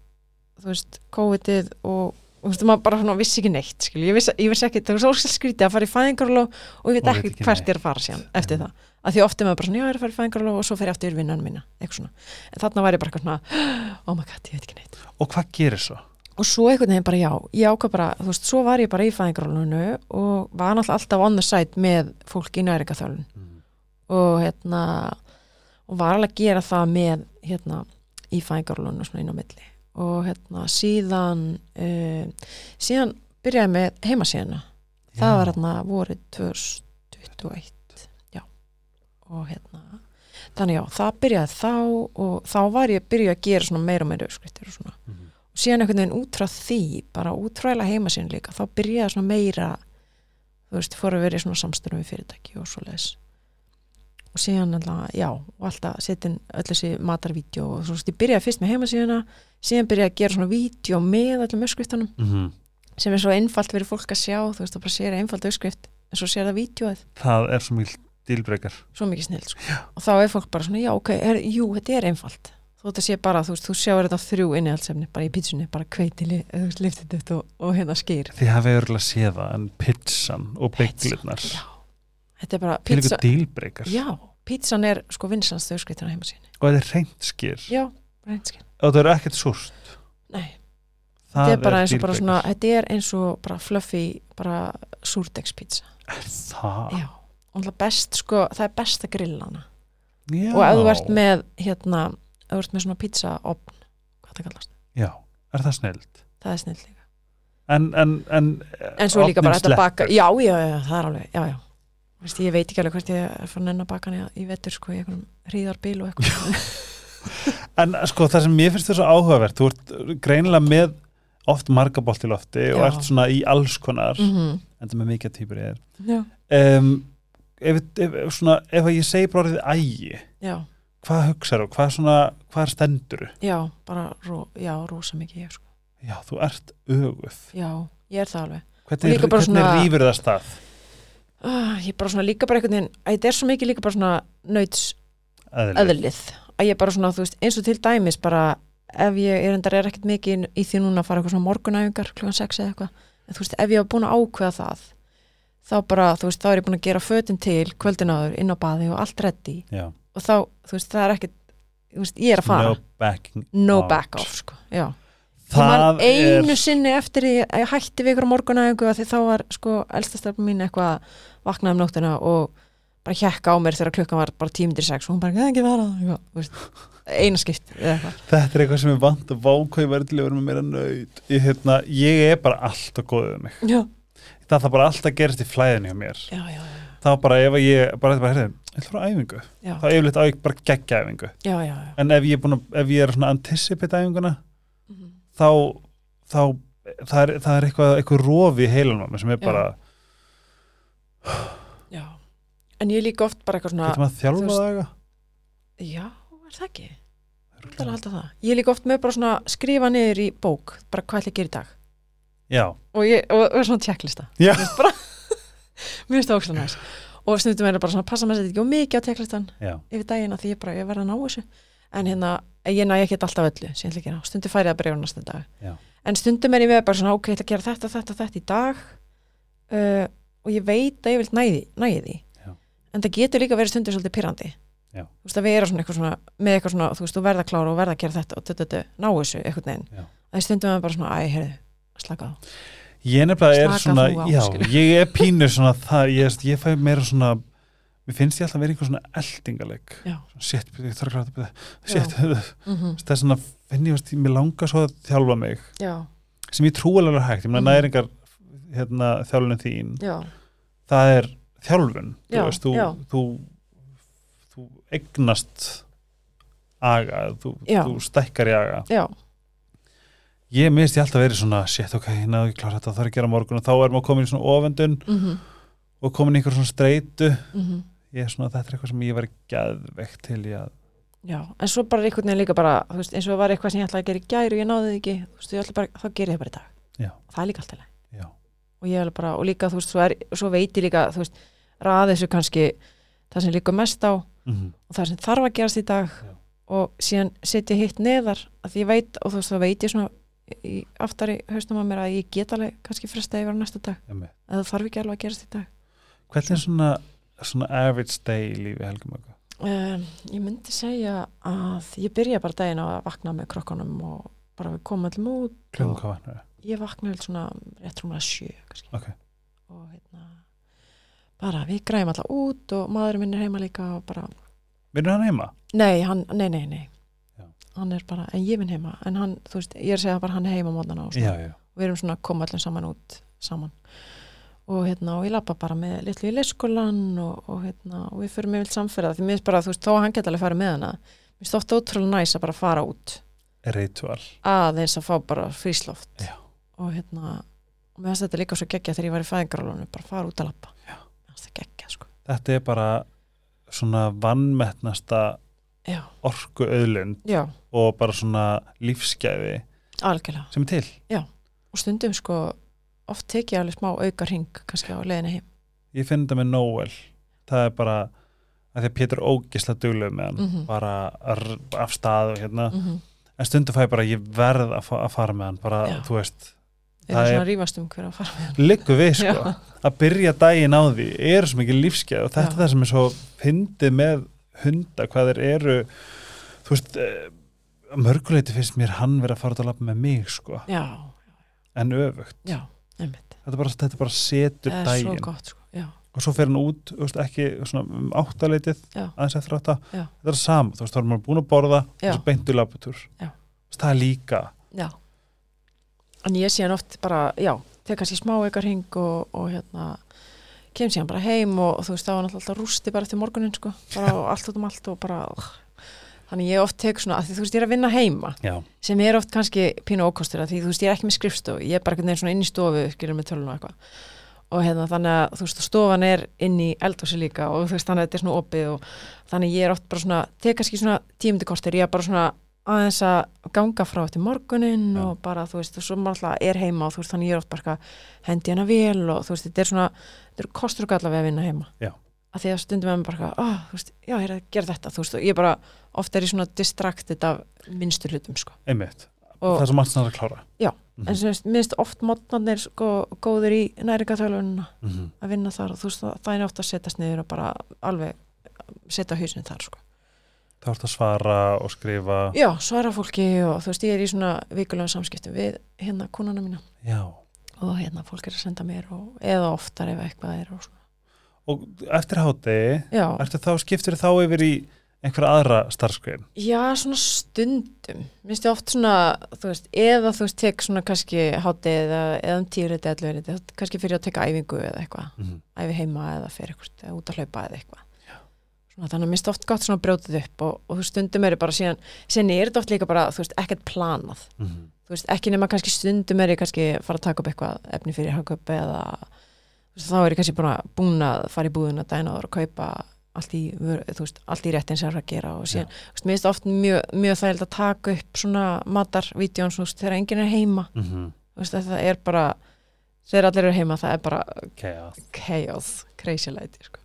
Speaker 2: þú veist, COVID-ið og Þú veist, maður bara svona vissi ekki neitt, skil, ég vissi, ég vissi ekki, það var svolítið skrítið að fara í fæðingarlóf og ég veit
Speaker 1: Og veit
Speaker 2: ekki
Speaker 1: ekki
Speaker 2: hvert
Speaker 1: neitt.
Speaker 2: ég er að fara síðan eftir
Speaker 1: Já.
Speaker 2: það. Að því ofta er maður bara svona, já, ég er að fara í fæðingarlóf og svo fer ég aftur í vinnan mína, eitthvað svona. En þarna var ég bara eitthvað svona, oh my god, ég veit ekki neitt
Speaker 1: og hvað gerir svo?
Speaker 2: og svo einhvern veginn bara já, ég ákvað bara, þú veist, svo var ég bara í fæðingrólunu og var náttúrulega alltaf on the side með fólk í næringaþjálun
Speaker 1: Mhm.
Speaker 2: og hérna og var alveg að gera það með hérna í fæðingrólunu svona inn á milli og hérna síðan uh, síðan byrjaði með heimasíðuna það var hérna vorið 2021 já og hérna þannig já, það byrjaði þá og þá var ég að byrja að gera svona meira og meira uppskriftir og svona
Speaker 1: Mhm.
Speaker 2: og síðan einhvern veginn út frá því bara út frá eiginlega heimasíðan líka þá byrjaði svona meira þú veist, fór að vera í svona samstörum við fyrirtæki og svo leis og síðan alltaf, já, og alltaf setin öll þessi matarvídeó og svo veist, ég byrjaði fyrst með heimasíðuna síðan byrjaði að gera svona vídeó með öllum uppskriftunum
Speaker 1: Mhm.
Speaker 2: sem er svo einfalt fyrir fólk að sjá þú veist, það bara sér einfalt auðskrift en svo sér það vídjóið,
Speaker 1: það er svo mjög dílbreykar
Speaker 2: svo mikið snill sko. og þá er fólk bara svona, já ok, er, jú, þetta er einfalt þú þetta sé bara, þú veist, þú sjáur þetta þrjú innihaldsefni, bara í pítsunni, bara kveiti li- þú veist, liftið þetta og, og hérna skýr
Speaker 1: því hafið örgulega séð það en pizzan og bygglirnar
Speaker 2: já, þetta er bara
Speaker 1: pizza.
Speaker 2: pítsa,
Speaker 1: dílbreykar
Speaker 2: já, pítsan er sko vinsans auðskriftina heima sín
Speaker 1: og þetta er reynd skýr
Speaker 2: já, reynskinn,
Speaker 1: og það er ekkert súrt
Speaker 2: nei
Speaker 1: það
Speaker 2: þetta er bara eins og bara
Speaker 1: dealbreaker.
Speaker 2: svona, þetta er eins og bara fluffy, bara súrdegspítsa,
Speaker 1: það,
Speaker 2: já og það best, sko, það er best að grilla hana
Speaker 1: já.
Speaker 2: og ef þú ert með hérna, ef þú ert með svona pizzaopn hvað það kallast,
Speaker 1: já, er það snild
Speaker 2: það er snill líka
Speaker 1: en, en, en,
Speaker 2: en svo líka bara
Speaker 1: opnin
Speaker 2: þetta baka,
Speaker 1: sleppur.
Speaker 2: já, já, já, það er alveg já, já, Vist, ég veit ekki alveg hvert ég er fann enn að baka hann í vettur sko, í einhverjum hríðarbil og eitthvað
Speaker 1: en sko það sem mér finnst þess að áhugavert þú ert greinilega með oft margabolt í lofti og
Speaker 2: Já.
Speaker 1: ert svona í alls konar
Speaker 2: mm -hmm.
Speaker 1: en það með mikið týpur ég
Speaker 2: já,
Speaker 1: er um, ef, ef, ef, svona, ef að ég segi bara orðið ægi
Speaker 2: já,
Speaker 1: hvað hugsaðu, hvað, svona, hvað stendur
Speaker 2: já, bara ró, já, rosa mikið ég, sko.
Speaker 1: já, þú ert öguð
Speaker 2: já, ég er það alveg Og
Speaker 1: hvernig,
Speaker 2: líka bara
Speaker 1: hvernig svona...
Speaker 2: svona-
Speaker 1: rýfur það stað
Speaker 2: ah, ég er bara svona líka bara einhvern veginn að þetta er svo mikið líka bara svona nauts
Speaker 1: Eðlileg.
Speaker 2: öðlið að ég bara svona, þú veist, eins og til dæmis bara ef ég er endar er ekkert mikið inn- í því núna að fara eitthvað svona morgunæfingar klukkan 6 eða eitthvað, en þú veist, ef ég var búin að ákveða það þá bara, þú veist, þá er ég búin að gera fötin til kvöldin áður inn á baði og allt reddi
Speaker 1: Já.
Speaker 2: og þá, þú veist, það er ekkert þú veist, ég er að fara,
Speaker 1: no backing
Speaker 2: no,
Speaker 1: out.
Speaker 2: back off sko, já,
Speaker 1: það
Speaker 2: það einu
Speaker 1: er
Speaker 2: sinni eftir því að ég hætti við ykkur morgunæfingu að því þá var, sko, elstastarfum mín eitthvað að vaknaði um nóttina og bara hjekka á mér þegar klukkan var bara tímindir sex og hún bara, "Nei, ekki vera það eitthvað, þú veist, eina skipt eða eitthvað,
Speaker 1: þetta er eitthvað sem er vant að vákvæði verið til að vera með meira nöyt ég, hérna, ég er bara alltaf góðið um mig
Speaker 2: já,
Speaker 1: það þarf bara alltaf að gerast í flæðinu hjá mér
Speaker 2: já, já
Speaker 1: það var bara ef að ég bara, bara heyrðu, ég ætla að fara á æfingu
Speaker 2: já,
Speaker 1: þá yfirleitt á ég bara geggja æfingu
Speaker 2: já, já, já.
Speaker 1: en ef ég er, búin að, ef ég er svona að anticipate æfinguna
Speaker 2: Mhm.
Speaker 1: þá, þá það er, það er eitthvað, eitthvað rofi í heilanum á mér sem er
Speaker 2: Já.
Speaker 1: bara,
Speaker 2: já en ég er líka oft bara eitthvað svona
Speaker 1: getur maður að
Speaker 2: þú
Speaker 1: þjálfa
Speaker 2: veist-
Speaker 1: það eitthvað?
Speaker 2: já, er það ekki, það er að halda það ég er líka oft með bara svona skrifa niður í bók bara hvað ætla ég að gera í dag
Speaker 1: já,
Speaker 2: og, ég, og, og svona checklista
Speaker 1: Já.
Speaker 2: Mér finnst bara, mér finnst það ókslega næs og stundum er það bara svona passa maður að setja ekki og mikið á checklistan
Speaker 1: já,
Speaker 2: yfir daginn að því ég bara ég verða að ná þessu en hérna, ég næ ekki alltaf öllu sem ég ætla að gera, stundum færi það bara yfir á næsta dag
Speaker 1: Já.
Speaker 2: en stundum er ég með bara svona ok, ég ætla að gera þetta, þetta, þetta í dag uh, og ég veit að ég vil næði, næði því
Speaker 1: Já.
Speaker 2: en það getur líka verið stundum svolítið pirrandi
Speaker 1: Já.
Speaker 2: þú veist að við erum svona eitthvað svona með eitthvað svona, þú veist, þú verða klára og verða að gera þetta og þetta, ná þessu, eitthvað neginn
Speaker 1: Já.
Speaker 2: að stundum er bara svona, æ, heyrðu, slaka á
Speaker 1: ég nefnilega er
Speaker 2: Slaka
Speaker 1: svona
Speaker 2: þú á,
Speaker 1: já,
Speaker 2: skilur.
Speaker 1: ég er pínu svona það, ég, ég fæ meira svona mér finnst ég alltaf að vera einhver svona eldingaleg
Speaker 2: Já.
Speaker 1: shit, ég þarf að gráta byrja
Speaker 2: Já.
Speaker 1: shit, þú veist,
Speaker 2: mm
Speaker 1: það er svona finn ég, veist, mér langar svo að þjálfa mig
Speaker 2: Já,
Speaker 1: sem ég trú alveg er hægt, ég meina
Speaker 2: Mhm.
Speaker 1: næringar hérna, þjálfunin þín,
Speaker 2: já,
Speaker 1: það er þjálfun, þú
Speaker 2: Já,
Speaker 1: veist, þú,
Speaker 2: já.
Speaker 1: þú þú egnast aga, þú,
Speaker 2: Já.
Speaker 1: þú stækkar í aga
Speaker 2: já,
Speaker 1: ég minnst ég alltaf verið svona, shit, ok, hérna, ég náðu ekki klára þetta, það þarf að gera á morgun og þá er maður komin í svona ofendun
Speaker 2: mm -hmm,
Speaker 1: og komin í einhver svona streitu ég er svona, þetta er eitthvað sem ég verið geðveikt til í að,
Speaker 2: já, en svo bara einhvern veginn líka bara, þú veist, eins og það var eitthvað sem ég ætlaði að gera í gæri og ég náði því ekki, þú veist, ég ætla bara, þá gerir ég það bara í dag.
Speaker 1: Já.
Speaker 2: Það er líka alltaf leið.
Speaker 1: já,
Speaker 2: Og ég ætla bara, og líka, þú veist, svo, er, svo veit ég líka, þú veist, raði þessu kannski það sem líka mest á og
Speaker 1: mm
Speaker 2: það sem þarf að gerast í dag
Speaker 1: Já.
Speaker 2: og síðan setja hitt neðar að ég veit, og þú veist, þá veit ég svona í, aftar í haustum að mér að ég get alveg kannski fresta yfir á næsta dag,
Speaker 1: emmi
Speaker 2: að það þarf ekki alveg að gerast í dag.
Speaker 1: hvernig er svona, svona average day í lífi helgumöku?
Speaker 2: Um, ég myndi segja að ég byrja bara daginn á að vakna með krokkanum og bara við komum allum út
Speaker 1: Klukkan hvað vaknar það?
Speaker 2: ég vakna vel svona rétt rúmlega sjö kannski
Speaker 1: Ok.
Speaker 2: og hérna bara við græjum alltaf út og maðurinn minn er heima líka og bara,
Speaker 1: Vinnur hann heima?
Speaker 2: nei, hann, nei, nei, nei
Speaker 1: Já.
Speaker 2: hann er bara, en ég vinn heima en hann, þú veist, ég er að segja bara hann er heima mótana og svona
Speaker 1: Já, já,
Speaker 2: við erum svona að koma allir saman út saman og hérna og ég lappa bara með litlu í leikskólan og, og hérna og við förum yfir samferða því mér finnst bara þú veist þó að hann geta alveg farið með hana mér finnst þótt ótrúlega næs að bara fara út
Speaker 1: ritual
Speaker 2: aðeins að fá bara frísloft
Speaker 1: Já.
Speaker 2: og hérna og mér finnst þetta líka svo geggja þegar ég var í fæðingarálunum bara fara út að lappa
Speaker 1: Já.
Speaker 2: mér finnst það geggja sko
Speaker 1: þetta er bara svona vannmettnasta
Speaker 2: já,
Speaker 1: orku auðlund
Speaker 2: já,
Speaker 1: og bara svona lífsgæði
Speaker 2: algjörlega
Speaker 1: sem er til
Speaker 2: og stundum sko oft tek ég alveg smá aukar hring kannski á leiðinni heim
Speaker 1: ég finn þetta með Noel það er bara að því að Pétur er ógislega duglegu með hann
Speaker 2: Mhm.
Speaker 1: bara r- af stað og hérna
Speaker 2: mm -hmm.
Speaker 1: en stundum fæ ég bara ég verð að, fa að fara með hann bara
Speaker 2: Já.
Speaker 1: þú veist
Speaker 2: það
Speaker 1: Það
Speaker 2: er
Speaker 1: er-
Speaker 2: svona rífast um hver á að fara með
Speaker 1: liggur við sko
Speaker 2: Já.
Speaker 1: að byrja daginn á því er svo mikið lífskeið og þetta
Speaker 2: Já.
Speaker 1: er það sem er svo fyndið með hunda hvað þeir eru þú veist eh, að mörguleiti finnst mér hann vera að fara út að lappa með mig sko
Speaker 2: já,
Speaker 1: en öfugt
Speaker 2: já, einmitt
Speaker 1: þetta er bara, þetta er bara setur
Speaker 2: það er svo
Speaker 1: daginn
Speaker 2: gott sko, já,
Speaker 1: og svo fer hann út þú veist, ekki svona um áttaleitið
Speaker 2: Já.
Speaker 1: aðeins eftir átta
Speaker 2: Já.
Speaker 1: þetta er sama þú veist þá er maður búin að borða og
Speaker 2: Já.
Speaker 1: svo beint í lapputúr
Speaker 2: Já.
Speaker 1: það er líka
Speaker 2: já en ég sé hann oft bara, já tek kannski smá aukar hring og, og hérna kem síðan bara heim og, þú veist þá var hann alltaf rústi bara eftir morgunin sko bara og allt út um allt og bara ugh. þannig ég oft tek svona, að því þú veist ég er að vinna heima
Speaker 1: já,
Speaker 2: sem er oft kannski pínu ókostur að því þú veist ég er ekki með skrifstofu, ég er bara einhvern veginn svona inn í stofu skilur með tölun og eitthvað og hérna þannig að þú veist og stofan er inn í eldhúsi líka og þú veist þannig að þetta er svona opið og þannig að ég er oft bara svona tek kannski svona tímundi kortir, ég er bara svona aðeins að ganga frá eftir morgunin
Speaker 1: Já.
Speaker 2: og bara þú veist og svo maður alltaf er heima og þú veist þannig að ég er oft bara eitthvað, hendi hana vel og þú veist þetta er svona, þetta er kostur og galla við að vinna heima
Speaker 1: Já.
Speaker 2: að því að stundum er maður bara, eitthvað, ah, þú veist, já, ég er að gera þetta, þú veist, og ég bara, oft er ég svona distracted af minnstu hlutum, sko
Speaker 1: einmitt
Speaker 2: og,
Speaker 1: það er svo margt snar að klára Mhm.
Speaker 2: en sem veist, minnst oft mótnarnir sko góður í næringatölununa
Speaker 1: mm -hmm.
Speaker 2: að vinna þar og þú veist það, það er oft að setjast niður og bara alveg uh, setja hausin þar sko.
Speaker 1: það er að svara og skrifa
Speaker 2: Já, svara fólki og þú veist ég er í svona vikulega samskiptum við hérna konana mína
Speaker 1: já.
Speaker 2: og hérna fólk er að senda mér og eða oftar ef eitthvað er og svona.
Speaker 1: og eftir hátegi
Speaker 2: Já,
Speaker 1: ertu þá skiptir þá yfir í einhverja aðra starfskrein
Speaker 2: já, svona stundum minnst ég oft svona, þú veist eða þú veist tek svona kannski hátið eða, eða um tíuriti, elluriti, kannski fyrir að teka æfingu eða eitthvað æfi heima eða fyrir eitthvað eða út að hlaupa eða eitthvað svona, þannig að mér stótt gott svona brjótið upp og, og þú veist, stundum er ég bara síðan síðan er þetta oft líka bara, þú veist, ekkert planað þú veist, ekki nema kannski stundum er ég kannski fara að taka upp eitthvað efni fyrir hagkaup eða þú veist, þá er ég kannski búin að, búin að fara í búðuna dæna og kaupa allt í, vör- þú veist, allt í réttin sem er að gera og síðan, þú veist, mér finnst oft mjög, mjög þægild að taka upp svona matarvídjón, þú veist, þegar enginn er heima þú veist, það er bara þegar allir eru heima, það er bara
Speaker 1: Chaos.
Speaker 2: chaos, crazy lighti sko.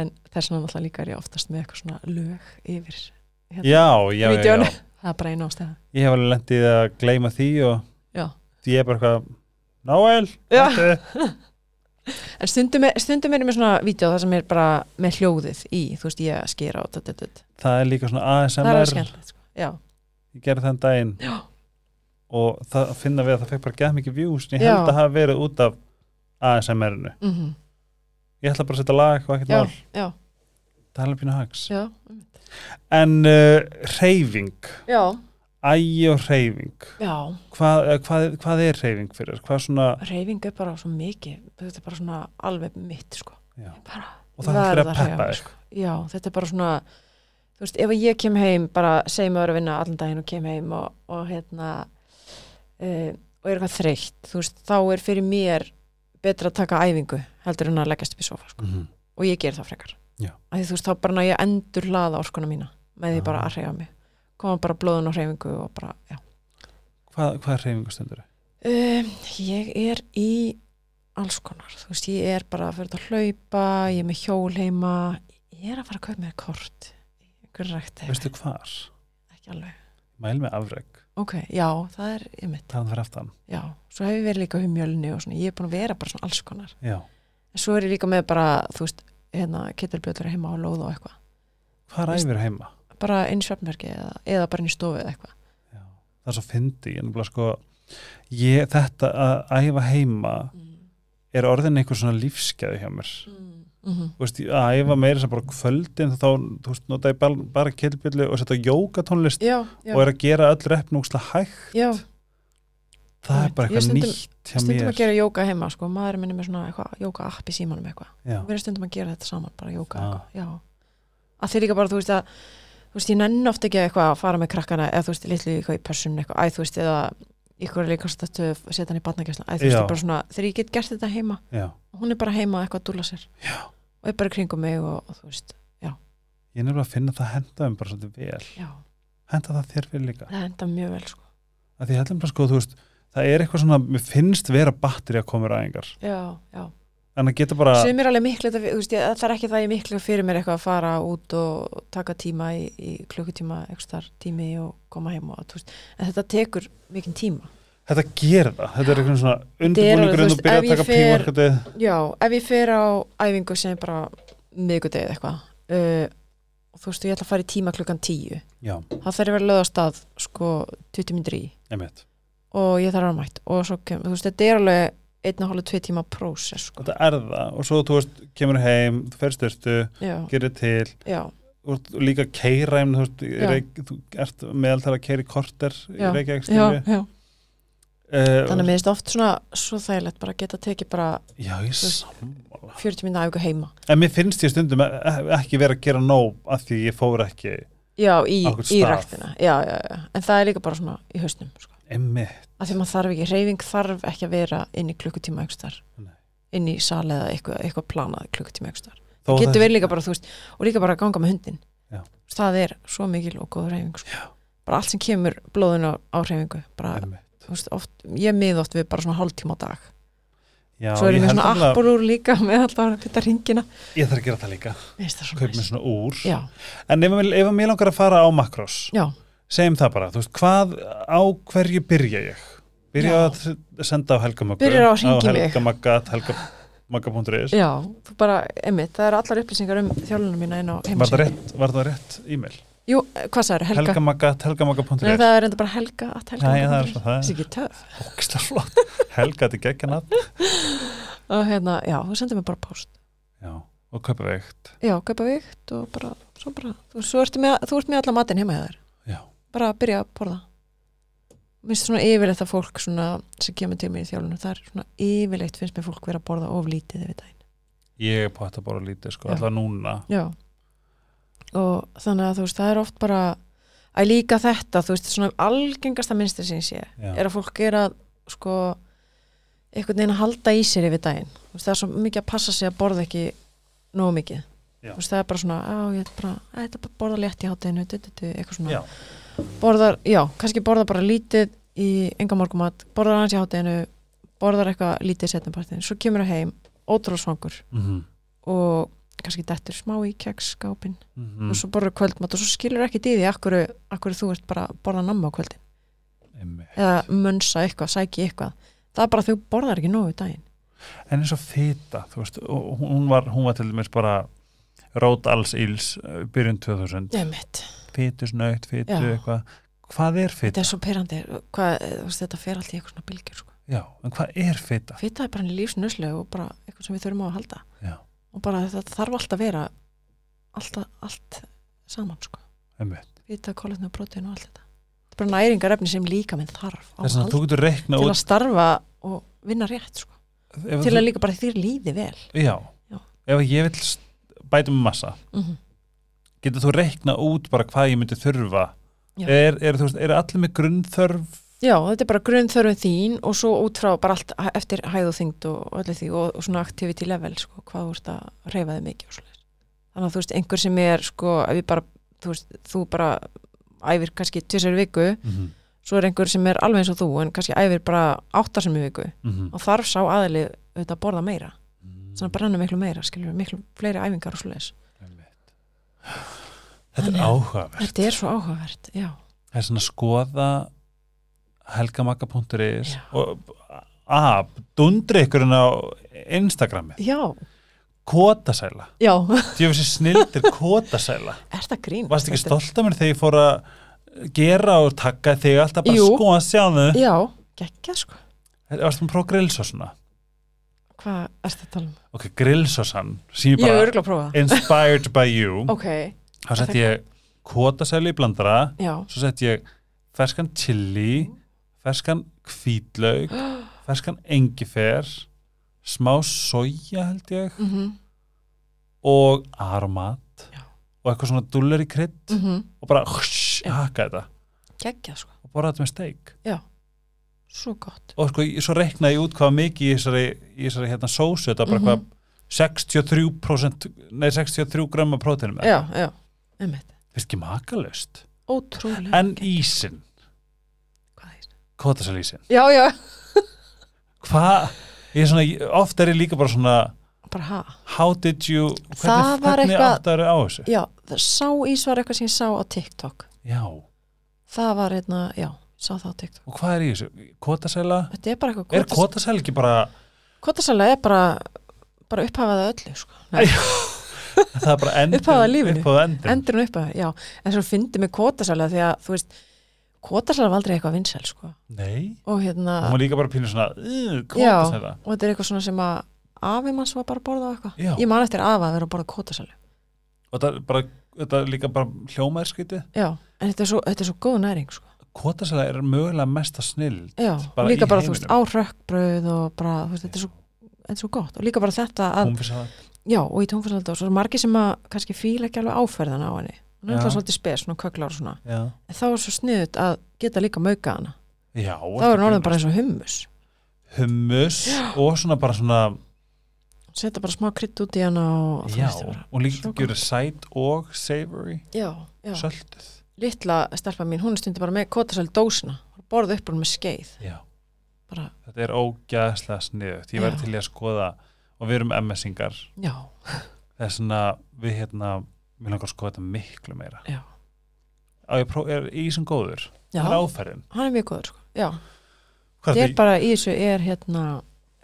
Speaker 2: en þess vegna náttúrulega líka er ég oftast með eitthvað svona lög yfir
Speaker 1: já, já, já, já.
Speaker 2: Vídeóinu. það er bara einu ástæða
Speaker 1: ég hef alveg lendið að gleyma því og
Speaker 2: Já.
Speaker 1: ég er bara eitthvað Náel,
Speaker 2: Já.
Speaker 1: hættu."
Speaker 2: en stundum er, stundum er ég með svona vídeo það sem er bara með hljóðið í þú veist ég að skera og dut, dut, dut.
Speaker 1: það er líka svona
Speaker 2: það er alveg
Speaker 1: ASMR
Speaker 2: skemmtilegt sko. já,
Speaker 1: ég gerði þann daginn
Speaker 2: Já.
Speaker 1: og það að finna við að það fekk bara gæð mikið views en ég
Speaker 2: Já.
Speaker 1: held að hafa verið út af ASMR-inu
Speaker 2: mm
Speaker 1: ég ætla bara að setja lag og ekkert
Speaker 2: já,
Speaker 1: mál
Speaker 2: já,
Speaker 1: það er alveg pínu hags
Speaker 2: já
Speaker 1: en uh, reyfing,
Speaker 2: já,
Speaker 1: ægi og reyfing
Speaker 2: já,
Speaker 1: hvað, eh, hvað, hvað er reyfing fyrir þér? hvað svona
Speaker 2: reyfing er bara svo mikið þetta er bara svona alveg mitt sko.
Speaker 1: Já.
Speaker 2: bara
Speaker 1: og það er
Speaker 2: verð
Speaker 1: fyrir
Speaker 2: að
Speaker 1: að peppa
Speaker 2: hreyfa mig,
Speaker 1: þig sko.
Speaker 2: já, þetta er bara svona þú veist, ef ég kem heim bara segjum að vera að vinna allan daginn og kem heim og, og hérna uh, og er eitthvað þreytt þú veist, þá er fyrir mér betra að taka æfingu heldur en að leggjast upp í sofa sko.
Speaker 1: mm -hmm.
Speaker 2: og ég ger það frekar
Speaker 1: Já.
Speaker 2: Af því þú veist, þá bara næ ég að endur hlaða orkuna mína með því
Speaker 1: Já.
Speaker 2: bara að hreyfa mig koma bara blóðun og hreyfingu og bara, já
Speaker 1: hvað, hvað er reyfingu stundur?
Speaker 2: Um, ég er í alls konar, þú veist, ég er bara að fyrir að hlaupa, ég er með hjól heima, ég er að fara að kaupa með kort, einhver rækt heima,
Speaker 1: veistu hvar?
Speaker 2: ekki alveg.
Speaker 1: mæl með afreg,
Speaker 2: Ok, já, það er ég mitt,
Speaker 1: það hann fyrir aftan
Speaker 2: já, svo hef ég verið líka humjölni og svona, ég er búin að vera bara svona alls konar.
Speaker 1: já.
Speaker 2: En svo er ég líka með bara, þú veist, hérna, kettilbjötur heima á lóð og eitthvað,
Speaker 1: hvað
Speaker 2: Veist-
Speaker 1: ræfir heima?
Speaker 2: bara inn í svefnverki eða, eða bara inn í stofu eða eitthvað.
Speaker 1: það er svo fyndi ég nefnilega sko ég, þetta að æfa heima
Speaker 2: Mm.
Speaker 1: er orðin einhver svona lífskeið hjá mér
Speaker 2: Mm -hmm.
Speaker 1: Þú veist, ég- að æfa meira sem bara á kvöldin þá þú veist, nota ég bara, bara kettlbjöllu og setja jókatónlist
Speaker 2: Já, já,
Speaker 1: og er að gera öll repnúksla hægt
Speaker 2: já,
Speaker 1: það er bara
Speaker 2: Ég
Speaker 1: eitthvað
Speaker 2: stundum-
Speaker 1: nýtt hjá
Speaker 2: stundum að
Speaker 1: mér
Speaker 2: gera jóka heima sko, maður minni með svona eitthvað, jóka app í símanum eitthvað
Speaker 1: Já,
Speaker 2: við erum stundum að gera þetta saman, bara jóka
Speaker 1: Já.
Speaker 2: eitthvað, já, að því líka bara þú veist að, þú veist, ég nenni oft ekki að eitthvað að fara með krakkana, eða þú veist, litlu í eitthvað í pössun eitthvað, æ, þú veist, eða ykkur er líka stöttu að setja hann í barnagæsla, æ, þú veist,
Speaker 1: Já.
Speaker 2: ég bara svona, þegar ég get gert þetta heima
Speaker 1: já,
Speaker 2: hún er bara heima eitthvað að dúla sér
Speaker 1: já
Speaker 2: og er bara í kringum mig og, og þú veist,
Speaker 1: Ég er nefnilega að finna að það henda um bara svolítið vel
Speaker 2: já,
Speaker 1: henda það þér fyrir líka
Speaker 2: það enda mjög vel, sko
Speaker 1: að því heldum bara sko, þú veist, það er eitthvað svona mér finnst vera batteri að koma ræðingar
Speaker 2: já, já,
Speaker 1: en það getur bara,
Speaker 2: sem er alveg miklu þetta, þú veist, ég, það er ekki það ég miklu fyrir mér eitthvað að fara út og taka tíma í, í klukkutíma, eitthvað þar tími og koma heim og, þú veist, en þetta tekur mikinn tíma.
Speaker 1: þetta gerir það þetta er eitthvað svona
Speaker 2: Þetta er alveg,
Speaker 1: undirbúningur
Speaker 2: þú
Speaker 1: en þú
Speaker 2: veist,
Speaker 1: byrjar
Speaker 2: ef
Speaker 1: að
Speaker 2: ég
Speaker 1: taka
Speaker 2: fer-
Speaker 1: prímarkatið
Speaker 2: Já, ef ég fer á æfingu sem er bara miðgudegið eitthvað uh, og þú veist, ég ætla að fara í tíma klukkan tíu,
Speaker 1: Já,
Speaker 2: þá þarf ég verið löð á stað sko 20 minnir í
Speaker 1: einmitt
Speaker 2: og ég þarf að vera mætt og svo kem, þú veist, þetta er alveg einn og hálfa tvei tíma prósess, sko.
Speaker 1: Þetta er það og svo þú veist, kemur heim, þú ferð styrtu
Speaker 2: Já,
Speaker 1: gerir til,
Speaker 2: já,
Speaker 1: þú ert líka keira þú, veist, í
Speaker 2: Já.
Speaker 1: reik, þú ert meðaltala að keira í korter í
Speaker 2: Já.
Speaker 1: Reykjavík
Speaker 2: já,
Speaker 1: skilju.
Speaker 2: já. Þannig að
Speaker 1: uh,
Speaker 2: mér finnst oft svona svo þægilegt bara að geta tekið bara
Speaker 1: Já, ég
Speaker 2: veist-
Speaker 1: sammála
Speaker 2: 40 minna æfingu heima
Speaker 1: En mér finnst ég stundum e- e- ekki vera að gera nóg af því ég fór ekki
Speaker 2: Já, í,
Speaker 1: Á einhvern
Speaker 2: í
Speaker 1: stað.
Speaker 2: ræktina já, já, já. En það er líka bara svona í hausnum sko.
Speaker 1: einmitt,
Speaker 2: að því maður þarf ekki, reyfing þarf ekki að vera inn í klukkutíma aukstar
Speaker 1: Nei.
Speaker 2: inn í sal eða eitthvað, eitthvað planað klukkutíma aukstar
Speaker 1: þó að
Speaker 2: getur
Speaker 1: það-
Speaker 2: verið líka bara, þú veist, og líka bara að ganga með hundin
Speaker 1: Já.
Speaker 2: það er svo mikil og góð reyfing sko. bara allt sem kemur blóðun á, á reyfingu bara,
Speaker 1: einmitt.
Speaker 2: þú veist, oft, ég mið oft við bara svona hálftíma á dag
Speaker 1: Já,
Speaker 2: svo
Speaker 1: ég
Speaker 2: erum við
Speaker 1: held
Speaker 2: svona
Speaker 1: nefnilega-
Speaker 2: appur úr líka með alltaf að putta ringina
Speaker 1: Ég þarf að gera það líka,
Speaker 2: Mér finnst það svo
Speaker 1: kaup mér
Speaker 2: næs.
Speaker 1: svona úr
Speaker 2: já,
Speaker 1: En ef, ef mér langar að fara á makros
Speaker 2: já,
Speaker 1: segjum það bara, þú veist, hvað á hverju byrja ég? Byrja
Speaker 2: Já.
Speaker 1: að senda á helgamöggu
Speaker 2: Byrjar á að hringja í mig.
Speaker 1: helgamaggat, helgamagga.is
Speaker 2: Já, þú bara, emmitt, það eru allar upplýsingar um þjálunum mína inn á
Speaker 1: Var það
Speaker 2: heimasíðu.
Speaker 1: rétt, var það rétt e-mail?
Speaker 2: Jú, eh, hvað sagður, helga?
Speaker 1: Helgamaggat,
Speaker 2: Nei,
Speaker 1: helgamagga.is
Speaker 2: það er enda bara helga, at helga.
Speaker 1: Nei, það er svo það
Speaker 2: Það
Speaker 1: er
Speaker 2: er ekki töf.
Speaker 1: ógislega flott Helga, þetta er geggjana
Speaker 2: Og hérna, já, þú sendir mér bara post.
Speaker 1: Já, og kaupa veikt
Speaker 2: Já, kaupa vikt og bara, svo bara, þú, svo ertu með, þú ert með alla matinn heima hjá þér.
Speaker 1: Já.
Speaker 2: Bara að byrja að borða. Minnst svona yfirleitt að fólk svona, sem kemur til mér í þjálunum, það er svona yfirleitt finnst mér fólk vera að borða of lítið yfir daginn.
Speaker 1: Ég er på þetta bara lítið, sko,
Speaker 2: Já.
Speaker 1: alltaf núna
Speaker 2: Já. Og þannig að þú veist, það er oft bara, að líka þetta, þú veist, svona algengasta minnstri sem ég sé,
Speaker 1: Já,
Speaker 2: er að fólk er að sko einhvern veginn að halda í sér yfir daginn Þú veist, það er svo mikið að passa sig að borða ekki nógu mikið
Speaker 1: Já.
Speaker 2: Þú veist, það er bara svona, á, ég ætla bara, "Æ, ég ætla bara að borða létt í hátæðinu eitthvað svona
Speaker 1: Já.
Speaker 2: borðar, já, kannski borða bara lítið í enga morgumat, borðar aðeins í hátæðinu borðar eitthvað lítið í setnapartin svo kemur það heim, ótrúlega svangur
Speaker 1: Mhm.
Speaker 2: og kannski dettur smá í kekskápin
Speaker 1: Mhm.
Speaker 2: og svo borður kvöldmat og svo skilur ekki dýði akkur, akkur þú ert bara að borða namma á kvöldin
Speaker 1: Einmitt.
Speaker 2: eða mönsa eitthvað, sæki eitthvað það er bara að þau borðar ekki nógu í daginn
Speaker 1: en eins og fita þú veist, og hún var, hún var til dæmis bara rót alls íls uh, byrjun 2000,
Speaker 2: Dömmit.
Speaker 1: fitu snögt, fitu
Speaker 2: Já.
Speaker 1: eitthvað hvað er
Speaker 2: þetta
Speaker 1: fita?
Speaker 2: er svo perandi hvað, eh, þú veist, þetta fer alltaf í eitthvað svona bylgjur sko.
Speaker 1: Já, en hvað er fita?
Speaker 2: fita er bara en lífsnuslega og bara eitthvað sem við þurfum á að halda
Speaker 1: Já.
Speaker 2: og bara þetta þarf alltaf að vera alltaf, allt saman sko.
Speaker 1: Einmitt.
Speaker 2: fita, kólutni og protein og allt þetta þetta er bara næringarefni sem líka minn þarf á að
Speaker 1: Þess að
Speaker 2: halda
Speaker 1: þú getur reikna
Speaker 2: til
Speaker 1: út
Speaker 2: að starfa og vinna rétt sko.
Speaker 1: ef
Speaker 2: til
Speaker 1: þú-
Speaker 2: að líka bara þér líði vel
Speaker 1: Já,
Speaker 2: Já.
Speaker 1: ef ég vil s- bæta með massa
Speaker 2: mm
Speaker 1: getur þú reikna út bara hvað ég myndi þurfa
Speaker 2: Já.
Speaker 1: er, er, þú veist, er allir með grunnþörf
Speaker 2: Já, þetta er bara grunnþörfum þín og svo út frá bara allt h- eftir hæð og þyngd og, og öllu því og, og svona activity level, sko, hvað þú ert að reyfa þig mikið og svolítið. Þannig að þú veist, einhver sem er, sko, ef ég bara, þú veist, þú bara æfir kannski tvisar viku,
Speaker 1: mm -hmm.
Speaker 2: svo er einhver sem er alveg eins og þú, en kannski æfir bara áttar sem í viku
Speaker 1: Mm
Speaker 2: og þarf sá aðili auðvitað að borða meira, þannig að brenna miklu meira, skilur, miklu fleiri æfingar og svolítið.
Speaker 1: Þetta er
Speaker 2: Þannig-
Speaker 1: áhugavert
Speaker 2: Þetta er svo áhugavert, já,
Speaker 1: það er svona að skoða helgamaka.is
Speaker 2: Já.
Speaker 1: og að dundri ykkurinn á Instagrami
Speaker 2: já,
Speaker 1: kótasæla,
Speaker 2: já,
Speaker 1: því að þessi snildir kótasæla,
Speaker 2: er það grín?
Speaker 1: varst ekki stolt af mér þegar ég fór að gera og taka þig alltaf bara
Speaker 2: Jú.
Speaker 1: sko að sjá þau
Speaker 2: Já, geggjað, sko.
Speaker 1: varst þú próf grillsósuna
Speaker 2: Hvað er þetta að tala um?
Speaker 1: ok, grillsósan, sem ég
Speaker 2: Ég er
Speaker 1: bara
Speaker 2: örgulega að prófa það.
Speaker 1: inspired by you
Speaker 2: Ok,
Speaker 1: þá sett ég kótasæla í blandara
Speaker 2: já,
Speaker 1: svo sett ég ferskan chili ferskan hvítlaug ferskan engifer smá soja held ég
Speaker 2: Mhm,
Speaker 1: og aromat
Speaker 2: Já.
Speaker 1: og eitthvað svona dulleri krydd
Speaker 2: mhm.
Speaker 1: og bara hsh,
Speaker 2: Já.
Speaker 1: haka þetta
Speaker 2: Geggjað sko,
Speaker 1: og borða þetta með steik
Speaker 2: svo gott
Speaker 1: og sko, ég- svo reiknaði ég út hvað mikið í þessari, í þessari hérna sósu þetta var bara
Speaker 2: Mhm.
Speaker 1: hvað 63% nei 63 grömmar próteinum eða
Speaker 2: Já, já, einmitt
Speaker 1: eitthvað. finnst ekki makalust
Speaker 2: Ótrúlega
Speaker 1: en ísin,
Speaker 2: Hvað er þetta?
Speaker 1: kvotasalísin
Speaker 2: Já, já,
Speaker 1: hvað, ég er svona ég- oft er ég líka bara svona
Speaker 2: bara ha
Speaker 1: how did you, hvernig,
Speaker 2: Það var
Speaker 1: hvernig
Speaker 2: eitthvað-
Speaker 1: áttaru á þessu
Speaker 2: Já, það- sá ís var eitthvað sem ég sá á TikTok
Speaker 1: já,
Speaker 2: Það var hérna, já, sá það á TikTok
Speaker 1: og hvað er í þessu kvotasæla,
Speaker 2: Þetta er bara eitthvað
Speaker 1: er kvotasæla ekki bara
Speaker 2: Kvotasala er bara, bara upphafaða öllu sko. Nei,
Speaker 1: það er bara endur,
Speaker 2: Upphafið að lífinu.
Speaker 1: upphafið endur.
Speaker 2: Endur hún upphafaða, já En svo fyndi mig kvotasala því að þú veist Kvotasala var aldrei eitthvað vinsæl sko.
Speaker 1: nei,
Speaker 2: Og hérna,
Speaker 1: hún var líka bara pínu svona "Ugh,
Speaker 2: já
Speaker 1: kvotasæla,
Speaker 2: Og þetta er eitthvað svona sem að afi manns var bara að borða á eitthvað
Speaker 1: Já.
Speaker 2: Ég man eftir afa að vera að borða kvotasala
Speaker 1: og þetta er bara þetta er líka bara hljómaður skrítið
Speaker 2: Já, en þetta er svo, þetta er svo góð næring sko.
Speaker 1: kvotasæla er mögulega mesta snill
Speaker 2: Já,
Speaker 1: Bara
Speaker 2: líka
Speaker 1: í
Speaker 2: bara, þú veist, á
Speaker 1: heiminum.
Speaker 2: rökkbröð og bara, þú veist, þetta er svo, þetta er svo gott og líka bara þetta að,
Speaker 1: hún fyrst að
Speaker 2: já, og í tónfærsaldá svo er margir sem að kannski fíla ekki alveg áferðan á henni hún er
Speaker 1: Já.
Speaker 2: alltaf svolítið spes, svona köklar og svona
Speaker 1: já,
Speaker 2: en þá er svo sniðut að geta líka mauka hana
Speaker 1: já
Speaker 2: þá er hún orðin bara eins og hummus
Speaker 1: hummus og svona bara svona
Speaker 2: setja bara smá krydd út í hana og þú
Speaker 1: já,
Speaker 2: veist, bara,
Speaker 1: og líka
Speaker 2: svo
Speaker 1: þetta gera sæt og savory,
Speaker 2: já, já,
Speaker 1: sölduð
Speaker 2: litla stelpa mín, hún er stundir bara með kvotasæl dósina borða upp hún með skeið
Speaker 1: já
Speaker 2: bara,
Speaker 1: Þetta er ógæðslega sniðugt. Ég
Speaker 2: Já.
Speaker 1: væri til í að skoða og við erum MS-ingar.
Speaker 2: já,
Speaker 1: Það er svona, við hérna, við langar að skoða þetta miklu meira.
Speaker 2: Já.
Speaker 1: Á, ég próf, er ísum góður?
Speaker 2: já,
Speaker 1: Það er áferðin.
Speaker 2: hann er mjög góður sko. já,
Speaker 1: Hvað
Speaker 2: ég
Speaker 1: er
Speaker 2: er bara í þessu er hérna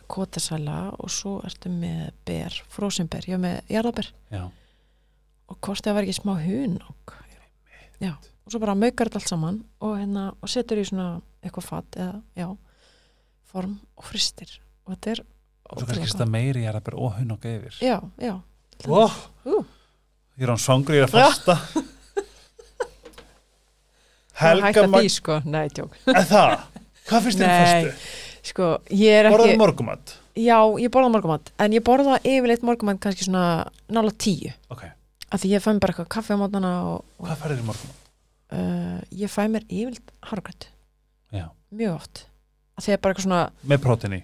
Speaker 2: kvotasæla og svo ertu með ber, frósinber, ég er með jarðaber
Speaker 1: Já,
Speaker 2: og hvort það var ekki smá hunang já, og svo bara maukar þetta allt saman og, hérna, og setur í svona eitthvað fatt eða, já, form og fristir og þetta er
Speaker 1: þú kannski
Speaker 2: ótrúlega
Speaker 1: stað meiri ég er að bera óhun og
Speaker 2: gott.
Speaker 1: geyfir.
Speaker 2: já, já,
Speaker 1: Ó,
Speaker 2: Ú.
Speaker 1: ég er án svangur, ég er að fasta.
Speaker 2: það er hægt
Speaker 1: Helga
Speaker 2: að því
Speaker 1: Magn,
Speaker 2: sko nei, tjók,
Speaker 1: eða það? Hvað finnst þér um
Speaker 2: Nei,
Speaker 1: fastu?
Speaker 2: sko, ég er
Speaker 1: Borðaðu
Speaker 2: ekki
Speaker 1: morgumat?
Speaker 2: já, ég borða morgumat, en ég borða yfirleitt morgumat kannski svona nála tíu
Speaker 1: Ok,
Speaker 2: af því ég fæ mér bara eitthvað kaffi á mótnana og, og
Speaker 1: hvað færðir í morgumat?
Speaker 2: uh, ég fæ mér yfirleitt hargrönd
Speaker 1: Já.
Speaker 2: mjög oft, af því ég er bara eitthvað svona
Speaker 1: Með prótinni?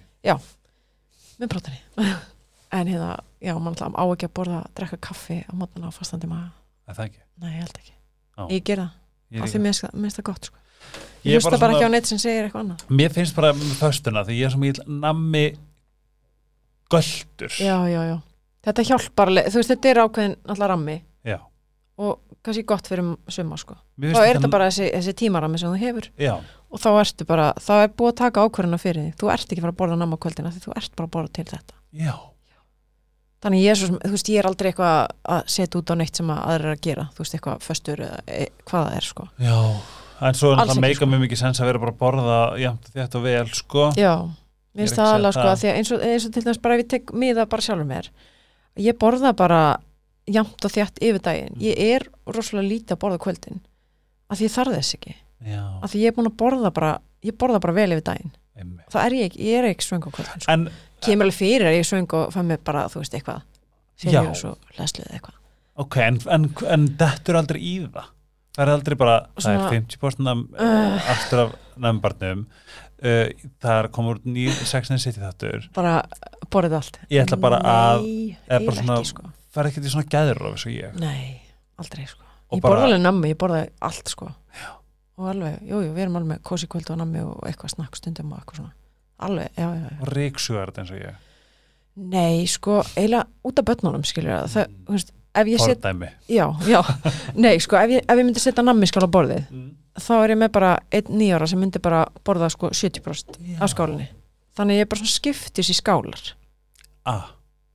Speaker 2: með brotinni en hérna, já, mann alltaf á ekki að borða að drekka kaffi á mótana á fastandi maður
Speaker 1: Er það ekki?
Speaker 2: nei, ég held ekki,
Speaker 1: Á.
Speaker 2: ég ger það
Speaker 1: Ég er
Speaker 2: af
Speaker 1: ekki-
Speaker 2: því mér finnst það- mér finnst það gott sko.
Speaker 1: Ég
Speaker 2: ég
Speaker 1: er
Speaker 2: hlusta bara,
Speaker 1: svona-
Speaker 2: ekki á neitt sem segir eitthvað annað
Speaker 1: Mér finnst bara með föstuna því ég er svo mjög nammi göldur
Speaker 2: já, já, já, þetta hjálpar alveg, þú veist, þetta er ákveðin alltaf rammi
Speaker 1: Já.
Speaker 2: og kannski gott fyrir suma sko.
Speaker 1: Mér
Speaker 2: þá
Speaker 1: finnst
Speaker 2: er þetta bara þessi, þessi tímarammi sem þú hefur
Speaker 1: Já,
Speaker 2: og þá ertu bara, þá er búið að taka ákvörðina fyrir þig þú ert ekki að fara að borða namma á kvöldina því þú ert bara að borða til þetta
Speaker 1: já,
Speaker 2: þannig ég er, svo, sem- þú veist, ég er aldrei eitthvað að setja út á neitt sem að aðra er að gera þú veist, eitthvað föstur eða e, hvað það er sko.
Speaker 1: já En svo er
Speaker 2: Alls
Speaker 1: það
Speaker 2: ekki,
Speaker 1: meika
Speaker 2: sko.
Speaker 1: mjög mikið sens að vera bara að borða jæmt þetta og vel, sko Ég
Speaker 2: Já,
Speaker 1: er
Speaker 2: mér finnst
Speaker 1: ekki að
Speaker 2: það
Speaker 1: segja
Speaker 2: alveg sko
Speaker 1: það.
Speaker 2: að því að eins og, eins og til dæmis bara ef ég tek miða bara sjálfur mér ég borða bara jamt og þjætt yfir
Speaker 1: Mm.
Speaker 2: daginn, ég er rosalega lítið að borða á kvöldin að því ég þarf þess ekki,
Speaker 1: Já,
Speaker 2: að því ég er búin að borða bara ég borða bara vel yfir daginn,
Speaker 1: einmitt
Speaker 2: það er ég ekki ég er ekki svöng á kvöldin, sko.
Speaker 1: En
Speaker 2: kemur alveg fyrir að ég er svöng og fæ mér bara, þú veist, eitthvað sér
Speaker 1: Já.
Speaker 2: ég svo leslið eitthvað
Speaker 1: Ok, en, en, en dettur aldrei í það Það er aldrei bara, það
Speaker 2: Svona-
Speaker 1: er 50% nam,
Speaker 2: Ugh.
Speaker 1: aftur af nefnbarnum uh, Það er komur nýr sexinni sitt í þáttur
Speaker 2: bara borðið allt
Speaker 1: Ég ætla bara að-
Speaker 2: Nei,
Speaker 1: eða bara
Speaker 2: eiginlega
Speaker 1: svona-
Speaker 2: ekki, sko.
Speaker 1: Það er ekkert í svona gæður eins og ég
Speaker 2: Nei, aldrei sko
Speaker 1: Og
Speaker 2: Ég
Speaker 1: bara-
Speaker 2: borða alveg nammi, ég borða allt sko og alveg, jú, jú, við erum alveg með kósi kvöld og nammi og eitthvað snakk stundum og eitthvað svona alveg, já, já, já
Speaker 1: og ríksugar þetta eins og ég
Speaker 2: Nei, sko, eiginlega út af börnunum skilur það, það
Speaker 1: Mm.
Speaker 2: þú veist, ef ég set
Speaker 1: Fordæmi
Speaker 2: Já, já, nei, sko, ef ég, ef ég myndi setja nammi skál á borðið þá er ég með bara einn nýjára sem myndi bara borða sko 70% af skálinni þannig að ég bara svona skiptis í skálar
Speaker 1: ah,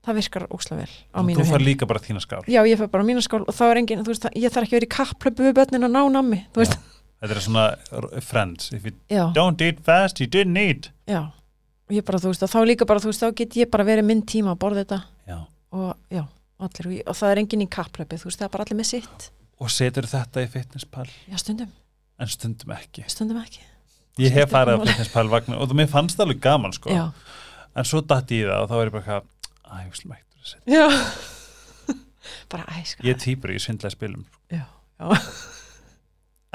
Speaker 2: það virkar ókslega vel á
Speaker 1: Þannig
Speaker 2: mínu
Speaker 1: Þú fær
Speaker 2: heim.
Speaker 1: líka bara þína skál
Speaker 2: Já, ég fær bara á mína skál og þá er engin, þú veist, það- ég þarf ekki að vera í kapplöpu við börnin að ná nammi, þú veist
Speaker 1: Þetta er svona r- friends If you
Speaker 2: Já,
Speaker 1: don't eat fast, you didn't eat
Speaker 2: já og ég bara, þú veist, og þá líka bara, þú veist, þá get ég bara verið minn tíma að borða þetta
Speaker 1: Já.
Speaker 2: og já, allir, og, ég- og það er enginn í kapplöpu þú veist, það er bara allir með sitt
Speaker 1: Og setur þetta í fitnesspall
Speaker 2: Já, stundum,
Speaker 1: En stundum ekki
Speaker 2: stundum ekki
Speaker 1: ég hef farið að Fitness Pal Vagnar og það mér fannst það alveg gaman sko
Speaker 2: já,
Speaker 1: en svo datt ég í það og þá er ég bara eitthvað "Æ, ég slum ekki að setja."
Speaker 2: já. bara sko. æska
Speaker 1: ég er týpur í svindlega spilum sko.
Speaker 2: já, já.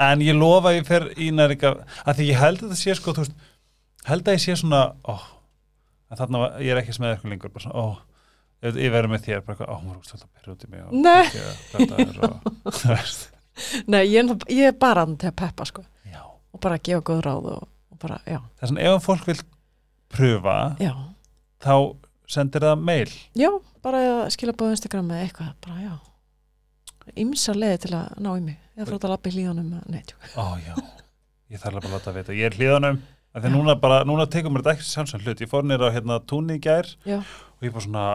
Speaker 1: en ég lofa að ég fer í nærika að því ég held að það sé sko þú veist, held að ég sé svona ó, að þarna var, ég er ekki með eitthvað lengur bara svona, ó, ég, ég verður með þér bara eitthvað, ó, hún er úrst alltaf að byrja út í mig og
Speaker 2: Nei.
Speaker 1: ég- þetta er og, þú veist,
Speaker 2: Nei, ég, er náttúrulega- ég er bara hann til að peppa sko
Speaker 1: já
Speaker 2: og bara gefa góð ráð og, og bara, já,
Speaker 1: þess að ef fólk vil pröfa
Speaker 2: já
Speaker 1: þá sendir það mail
Speaker 2: já, bara að skila bóð Instagram eða eitthvað, bara já ymsa leiði til að ná í mig eða frá þetta lappi hlíðanum, eða- nei, tjók
Speaker 1: Ó já, ég þarf alveg bara að láta að vita Ég er hlýðanum af Því að núna, bara, núna tekum mér þetta ekki sjálfsagt hlut Ég fór nýra á hérna túnni í gær
Speaker 2: Já.
Speaker 1: Og ég bara svona,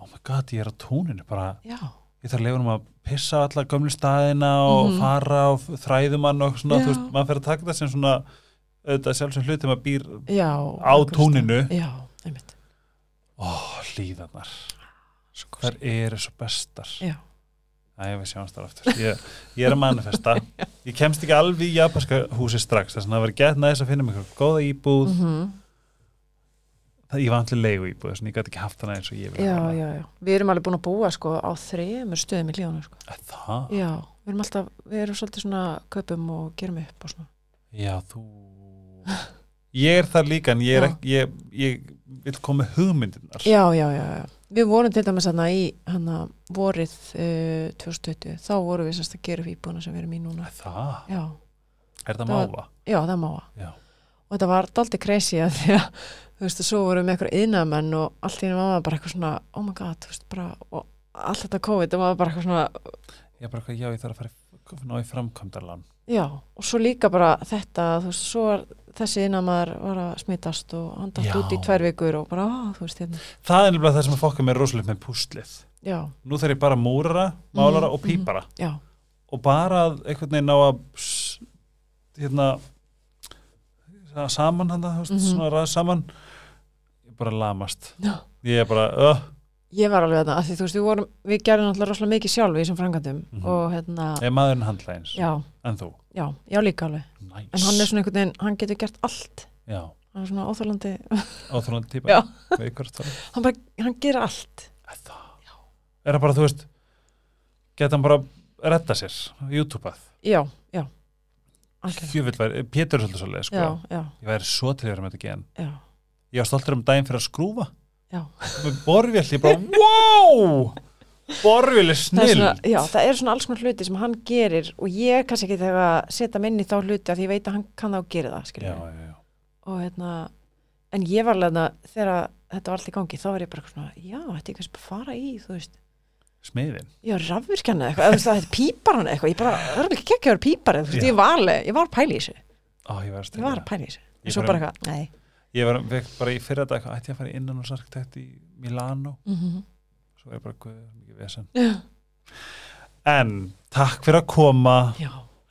Speaker 1: oh my god, ég er á túninu bara,
Speaker 2: já,
Speaker 1: Ég þarf að leifunum að pissa á alla gömlu staðina Og
Speaker 2: Mhm.
Speaker 1: fara og þræðumann og svona,
Speaker 2: Já.
Speaker 1: þú veist, Maður fer að taka þetta sem svona auðvitað sjálfsagt hlut Þegar maður býr
Speaker 2: já
Speaker 1: á túninu
Speaker 2: já, einmitt
Speaker 1: Ó, hlýðanar
Speaker 2: sko,
Speaker 1: Þær eru svo bestar
Speaker 2: Já.
Speaker 1: Æ, við sjáumst þar aftur ég, ég er að manifesta Ég kemst ekki alveg í japanska húsi strax Þess að það var gett næðis að finna mig eitthvað góða íbúð
Speaker 2: mm
Speaker 1: það, ég var allir leigu íbúð þannig ég gæti ekki haft hana eins og ég vil
Speaker 2: já, já, já, við erum alveg búin að búa sko á þremur stöðum í hlíðanum sko
Speaker 1: það,
Speaker 2: já, við erum alltaf, við erum svolítið svona köpum og gerum upp og svona
Speaker 1: já þú ég er þar líka en ég, er
Speaker 2: Já.
Speaker 1: ekki, ég, ég vil koma með hugmyndirnar
Speaker 2: já, já, já, já. Við vorum til dæmis hana í hana vorið uh, 2020, þá vorum við semst að gera upp íbúna sem við erum í núna.
Speaker 1: Æ, það,
Speaker 2: Já,
Speaker 1: er það
Speaker 2: Það-
Speaker 1: mála
Speaker 2: já, það má að.
Speaker 1: Já.
Speaker 2: Og þetta var daldi crazy að því að, þú veist, svo vorum við með eitthvað yðnamenn og allt í einu var maður bara eitthvað svona, oh my god, þú veist, bara, og allt þetta COVID, það var bara eitthvað svona,
Speaker 1: ég er bara eitthvað, já ég þarf að fara í- ná í framkvæmdarlan
Speaker 2: já, og svo líka bara þetta, þú veist, svo var þessi yðnamaður var að smitast og hann dætt
Speaker 1: Já.
Speaker 2: út í tvær vikur og bara, ah, þú veist, hérna,
Speaker 1: það er nefnilega það sem að fokka mér rosalegt með púslið
Speaker 2: já,
Speaker 1: nú þarf ég bara múrara, málara
Speaker 2: Mhm,
Speaker 1: og pípara
Speaker 2: já,
Speaker 1: og bara að einhvern veginn á að s- hérna það saman hann það, mm
Speaker 2: Mhm.
Speaker 1: -hmm. svona ræð saman ég bara lamast
Speaker 2: já.
Speaker 1: ég er bara, öh,
Speaker 2: Ég var alveg þarna, af því þú veist, við, vorum, við gerum náttúrulega rosalega mikið sjálf í þessum frangandum
Speaker 1: Mhm.
Speaker 2: og hérna,
Speaker 1: er maðurinn handla eins
Speaker 2: já,
Speaker 1: en þú,
Speaker 2: já, já líka alveg
Speaker 1: næs
Speaker 2: en hann er svona einhvern veginn, hann getur gert allt
Speaker 1: já,
Speaker 2: hann er svona óþjólandi,
Speaker 1: áþrólandi típa
Speaker 2: Já.
Speaker 1: Veit hvort það er.
Speaker 2: hann bara, hann gerir allt
Speaker 1: Er það er það bara, þú veist geta hann bara að retta sér YouTube-að,
Speaker 2: Já, já Algjörlega,
Speaker 1: hjöfull væri, Pétur er svolítið svolítið sko,
Speaker 2: já, já,
Speaker 1: ég væri svo til að vera með þetta gen
Speaker 2: já
Speaker 1: ég var stoltur um daginn fyrir að skrúfa
Speaker 2: Já.
Speaker 1: með borvél, ég bara, wow borvél er
Speaker 2: það, er
Speaker 1: snill
Speaker 2: svona, já, það er svona alls konar hluti sem hann gerir og ég er kannski ekki þegar að setja minni þá hluti að því ég veit að hann kann þá að gera það
Speaker 1: já,
Speaker 2: skilur við.
Speaker 1: já, já.
Speaker 2: og hérna en ég var alveg þarna, þegar þetta var allt í gangi þá var ég bara eitthvað svona, já, þetta er kannski bara að fara í þú veist,
Speaker 1: smiðin
Speaker 2: Já, rafvirkjana eitthvað, eða þú veist það þetta pípar hann eitthvað, ég bara, það er alveg ekki ekki að vera pípar þú veist,
Speaker 1: Já.
Speaker 2: ég var alveg, ég var að pæla í þessu
Speaker 1: Ó, ég var, að
Speaker 2: ég var að pæla í þessu,
Speaker 1: Ég
Speaker 2: en svo
Speaker 1: bara-
Speaker 2: bara eitthvað, nei
Speaker 1: ég var vek, bara í fyrra dag, ætti ég að fara innan hos arkitekt í Milano
Speaker 2: mm -hmm.
Speaker 1: svo er bara guð, mikið vesen en takk fyrir að koma
Speaker 2: Já,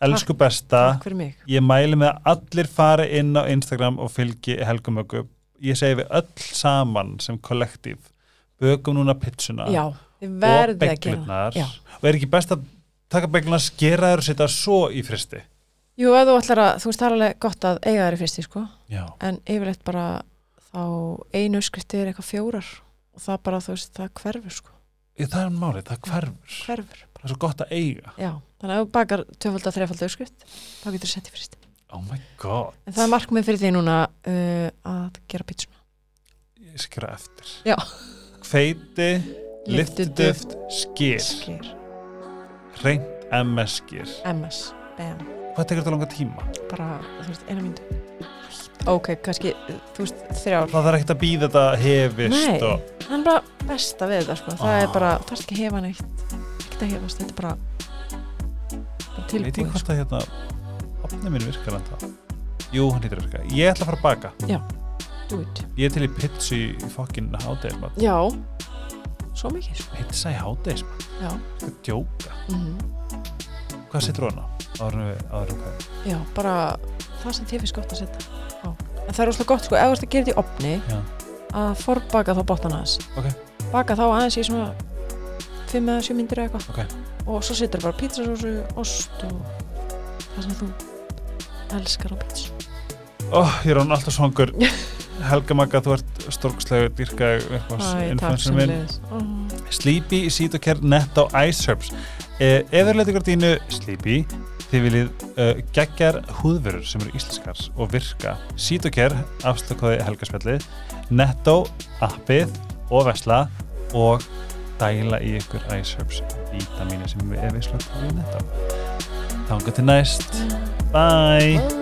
Speaker 1: elsku besta
Speaker 2: takk fyrir mig
Speaker 1: ég mæli með að allir fari inn á Instagram og fylgi Helgumöku ég segi við öll saman sem kollektív bökum núna pitsuna
Speaker 2: Já, þið
Speaker 1: og
Speaker 2: verðið að gera það
Speaker 1: beglurnar
Speaker 2: Já.
Speaker 1: og er ekki best að taka beglurnar, skera þær og setja svo í fristi
Speaker 2: Jú, ef þú ætlar að, þú veist, það er alveg gott að eiga þeirri fyrsti, sko,
Speaker 1: já,
Speaker 2: en yfirleitt bara þá einu skrifti er eitthvað fjórar og það bara, þú veist, það hverfur, sko
Speaker 1: Ég- það er málið, það hverfur
Speaker 2: hverfur,
Speaker 1: það er svo gott að eiga
Speaker 2: já, þannig að ef þú bakar töfald að þrefald auðskrift, þá getur þú sett í fyrsti
Speaker 1: oh my god,
Speaker 2: en það er markmið fyrir því núna uh, að gera pítsuna
Speaker 1: ég skra eftir
Speaker 2: Já.
Speaker 1: hveiti,
Speaker 2: Lyftiduft,
Speaker 1: liftiduft skýr,
Speaker 2: Sker.
Speaker 1: reynt MS skýr
Speaker 2: MS, BM,
Speaker 1: hvað tekur þetta langa tíma?
Speaker 2: bara, þú veist, eina myndu ok, kannski, uh, þú veist, þrjár
Speaker 1: það þarf ekkert að býða þetta hefist
Speaker 2: Nei.
Speaker 1: og
Speaker 2: það er bara besta við þetta, sko það
Speaker 1: Ah.
Speaker 2: er bara, þarf ekki að hefa neitt ekki að hefast, þetta er bara bara
Speaker 1: Ég veit ég
Speaker 2: tilbúið,
Speaker 1: hvort að hérna opnið minn virkar en það Jú, hann lítur að virka. Ég ætla að fara að baka.
Speaker 2: sko, do it
Speaker 1: Ég er til í pizza í, í fokkin hádegismat.
Speaker 2: já, svo mikið, sko
Speaker 1: Pizza í hádegismat?
Speaker 2: já,
Speaker 1: Þetta er djóka.
Speaker 2: mm
Speaker 1: Hvað setur þú hana? Árnum við, árnum við.
Speaker 2: já, bara það sem þér finnst gott að setja á. en það er óslega gott, sko, ef þú ert að gera þetta í opni
Speaker 1: Já.
Speaker 2: að forbaka þá bóttan aðeins
Speaker 1: Ok.
Speaker 2: baka þá aðeins í svona 5 eða 7 myndir eða eitthvað
Speaker 1: Ok.
Speaker 2: og svo setur bara pizzasósu, ost og það sem þú elskar á pizza
Speaker 1: oh, ég er hann alltaf svangur Helga Magga, þú ert storkslega dyrka
Speaker 2: Æ, takk
Speaker 1: influencer
Speaker 2: sem
Speaker 1: minn
Speaker 2: leiðis Ó,
Speaker 1: Sleepy, Sítokern, Netto, Iceherbs eh, Ef þér leta ykkur dínu Sleepy, þið viljið uh, geggjar húðverur sem eru íslenskars og virka. Sítokern afslökaði helgaspjallið, Netto appið og vesla og dæla í ykkur Iceherbs vítamínu sem við erum í slögt í Netto. Þanga til næst. Bye!
Speaker 2: ó.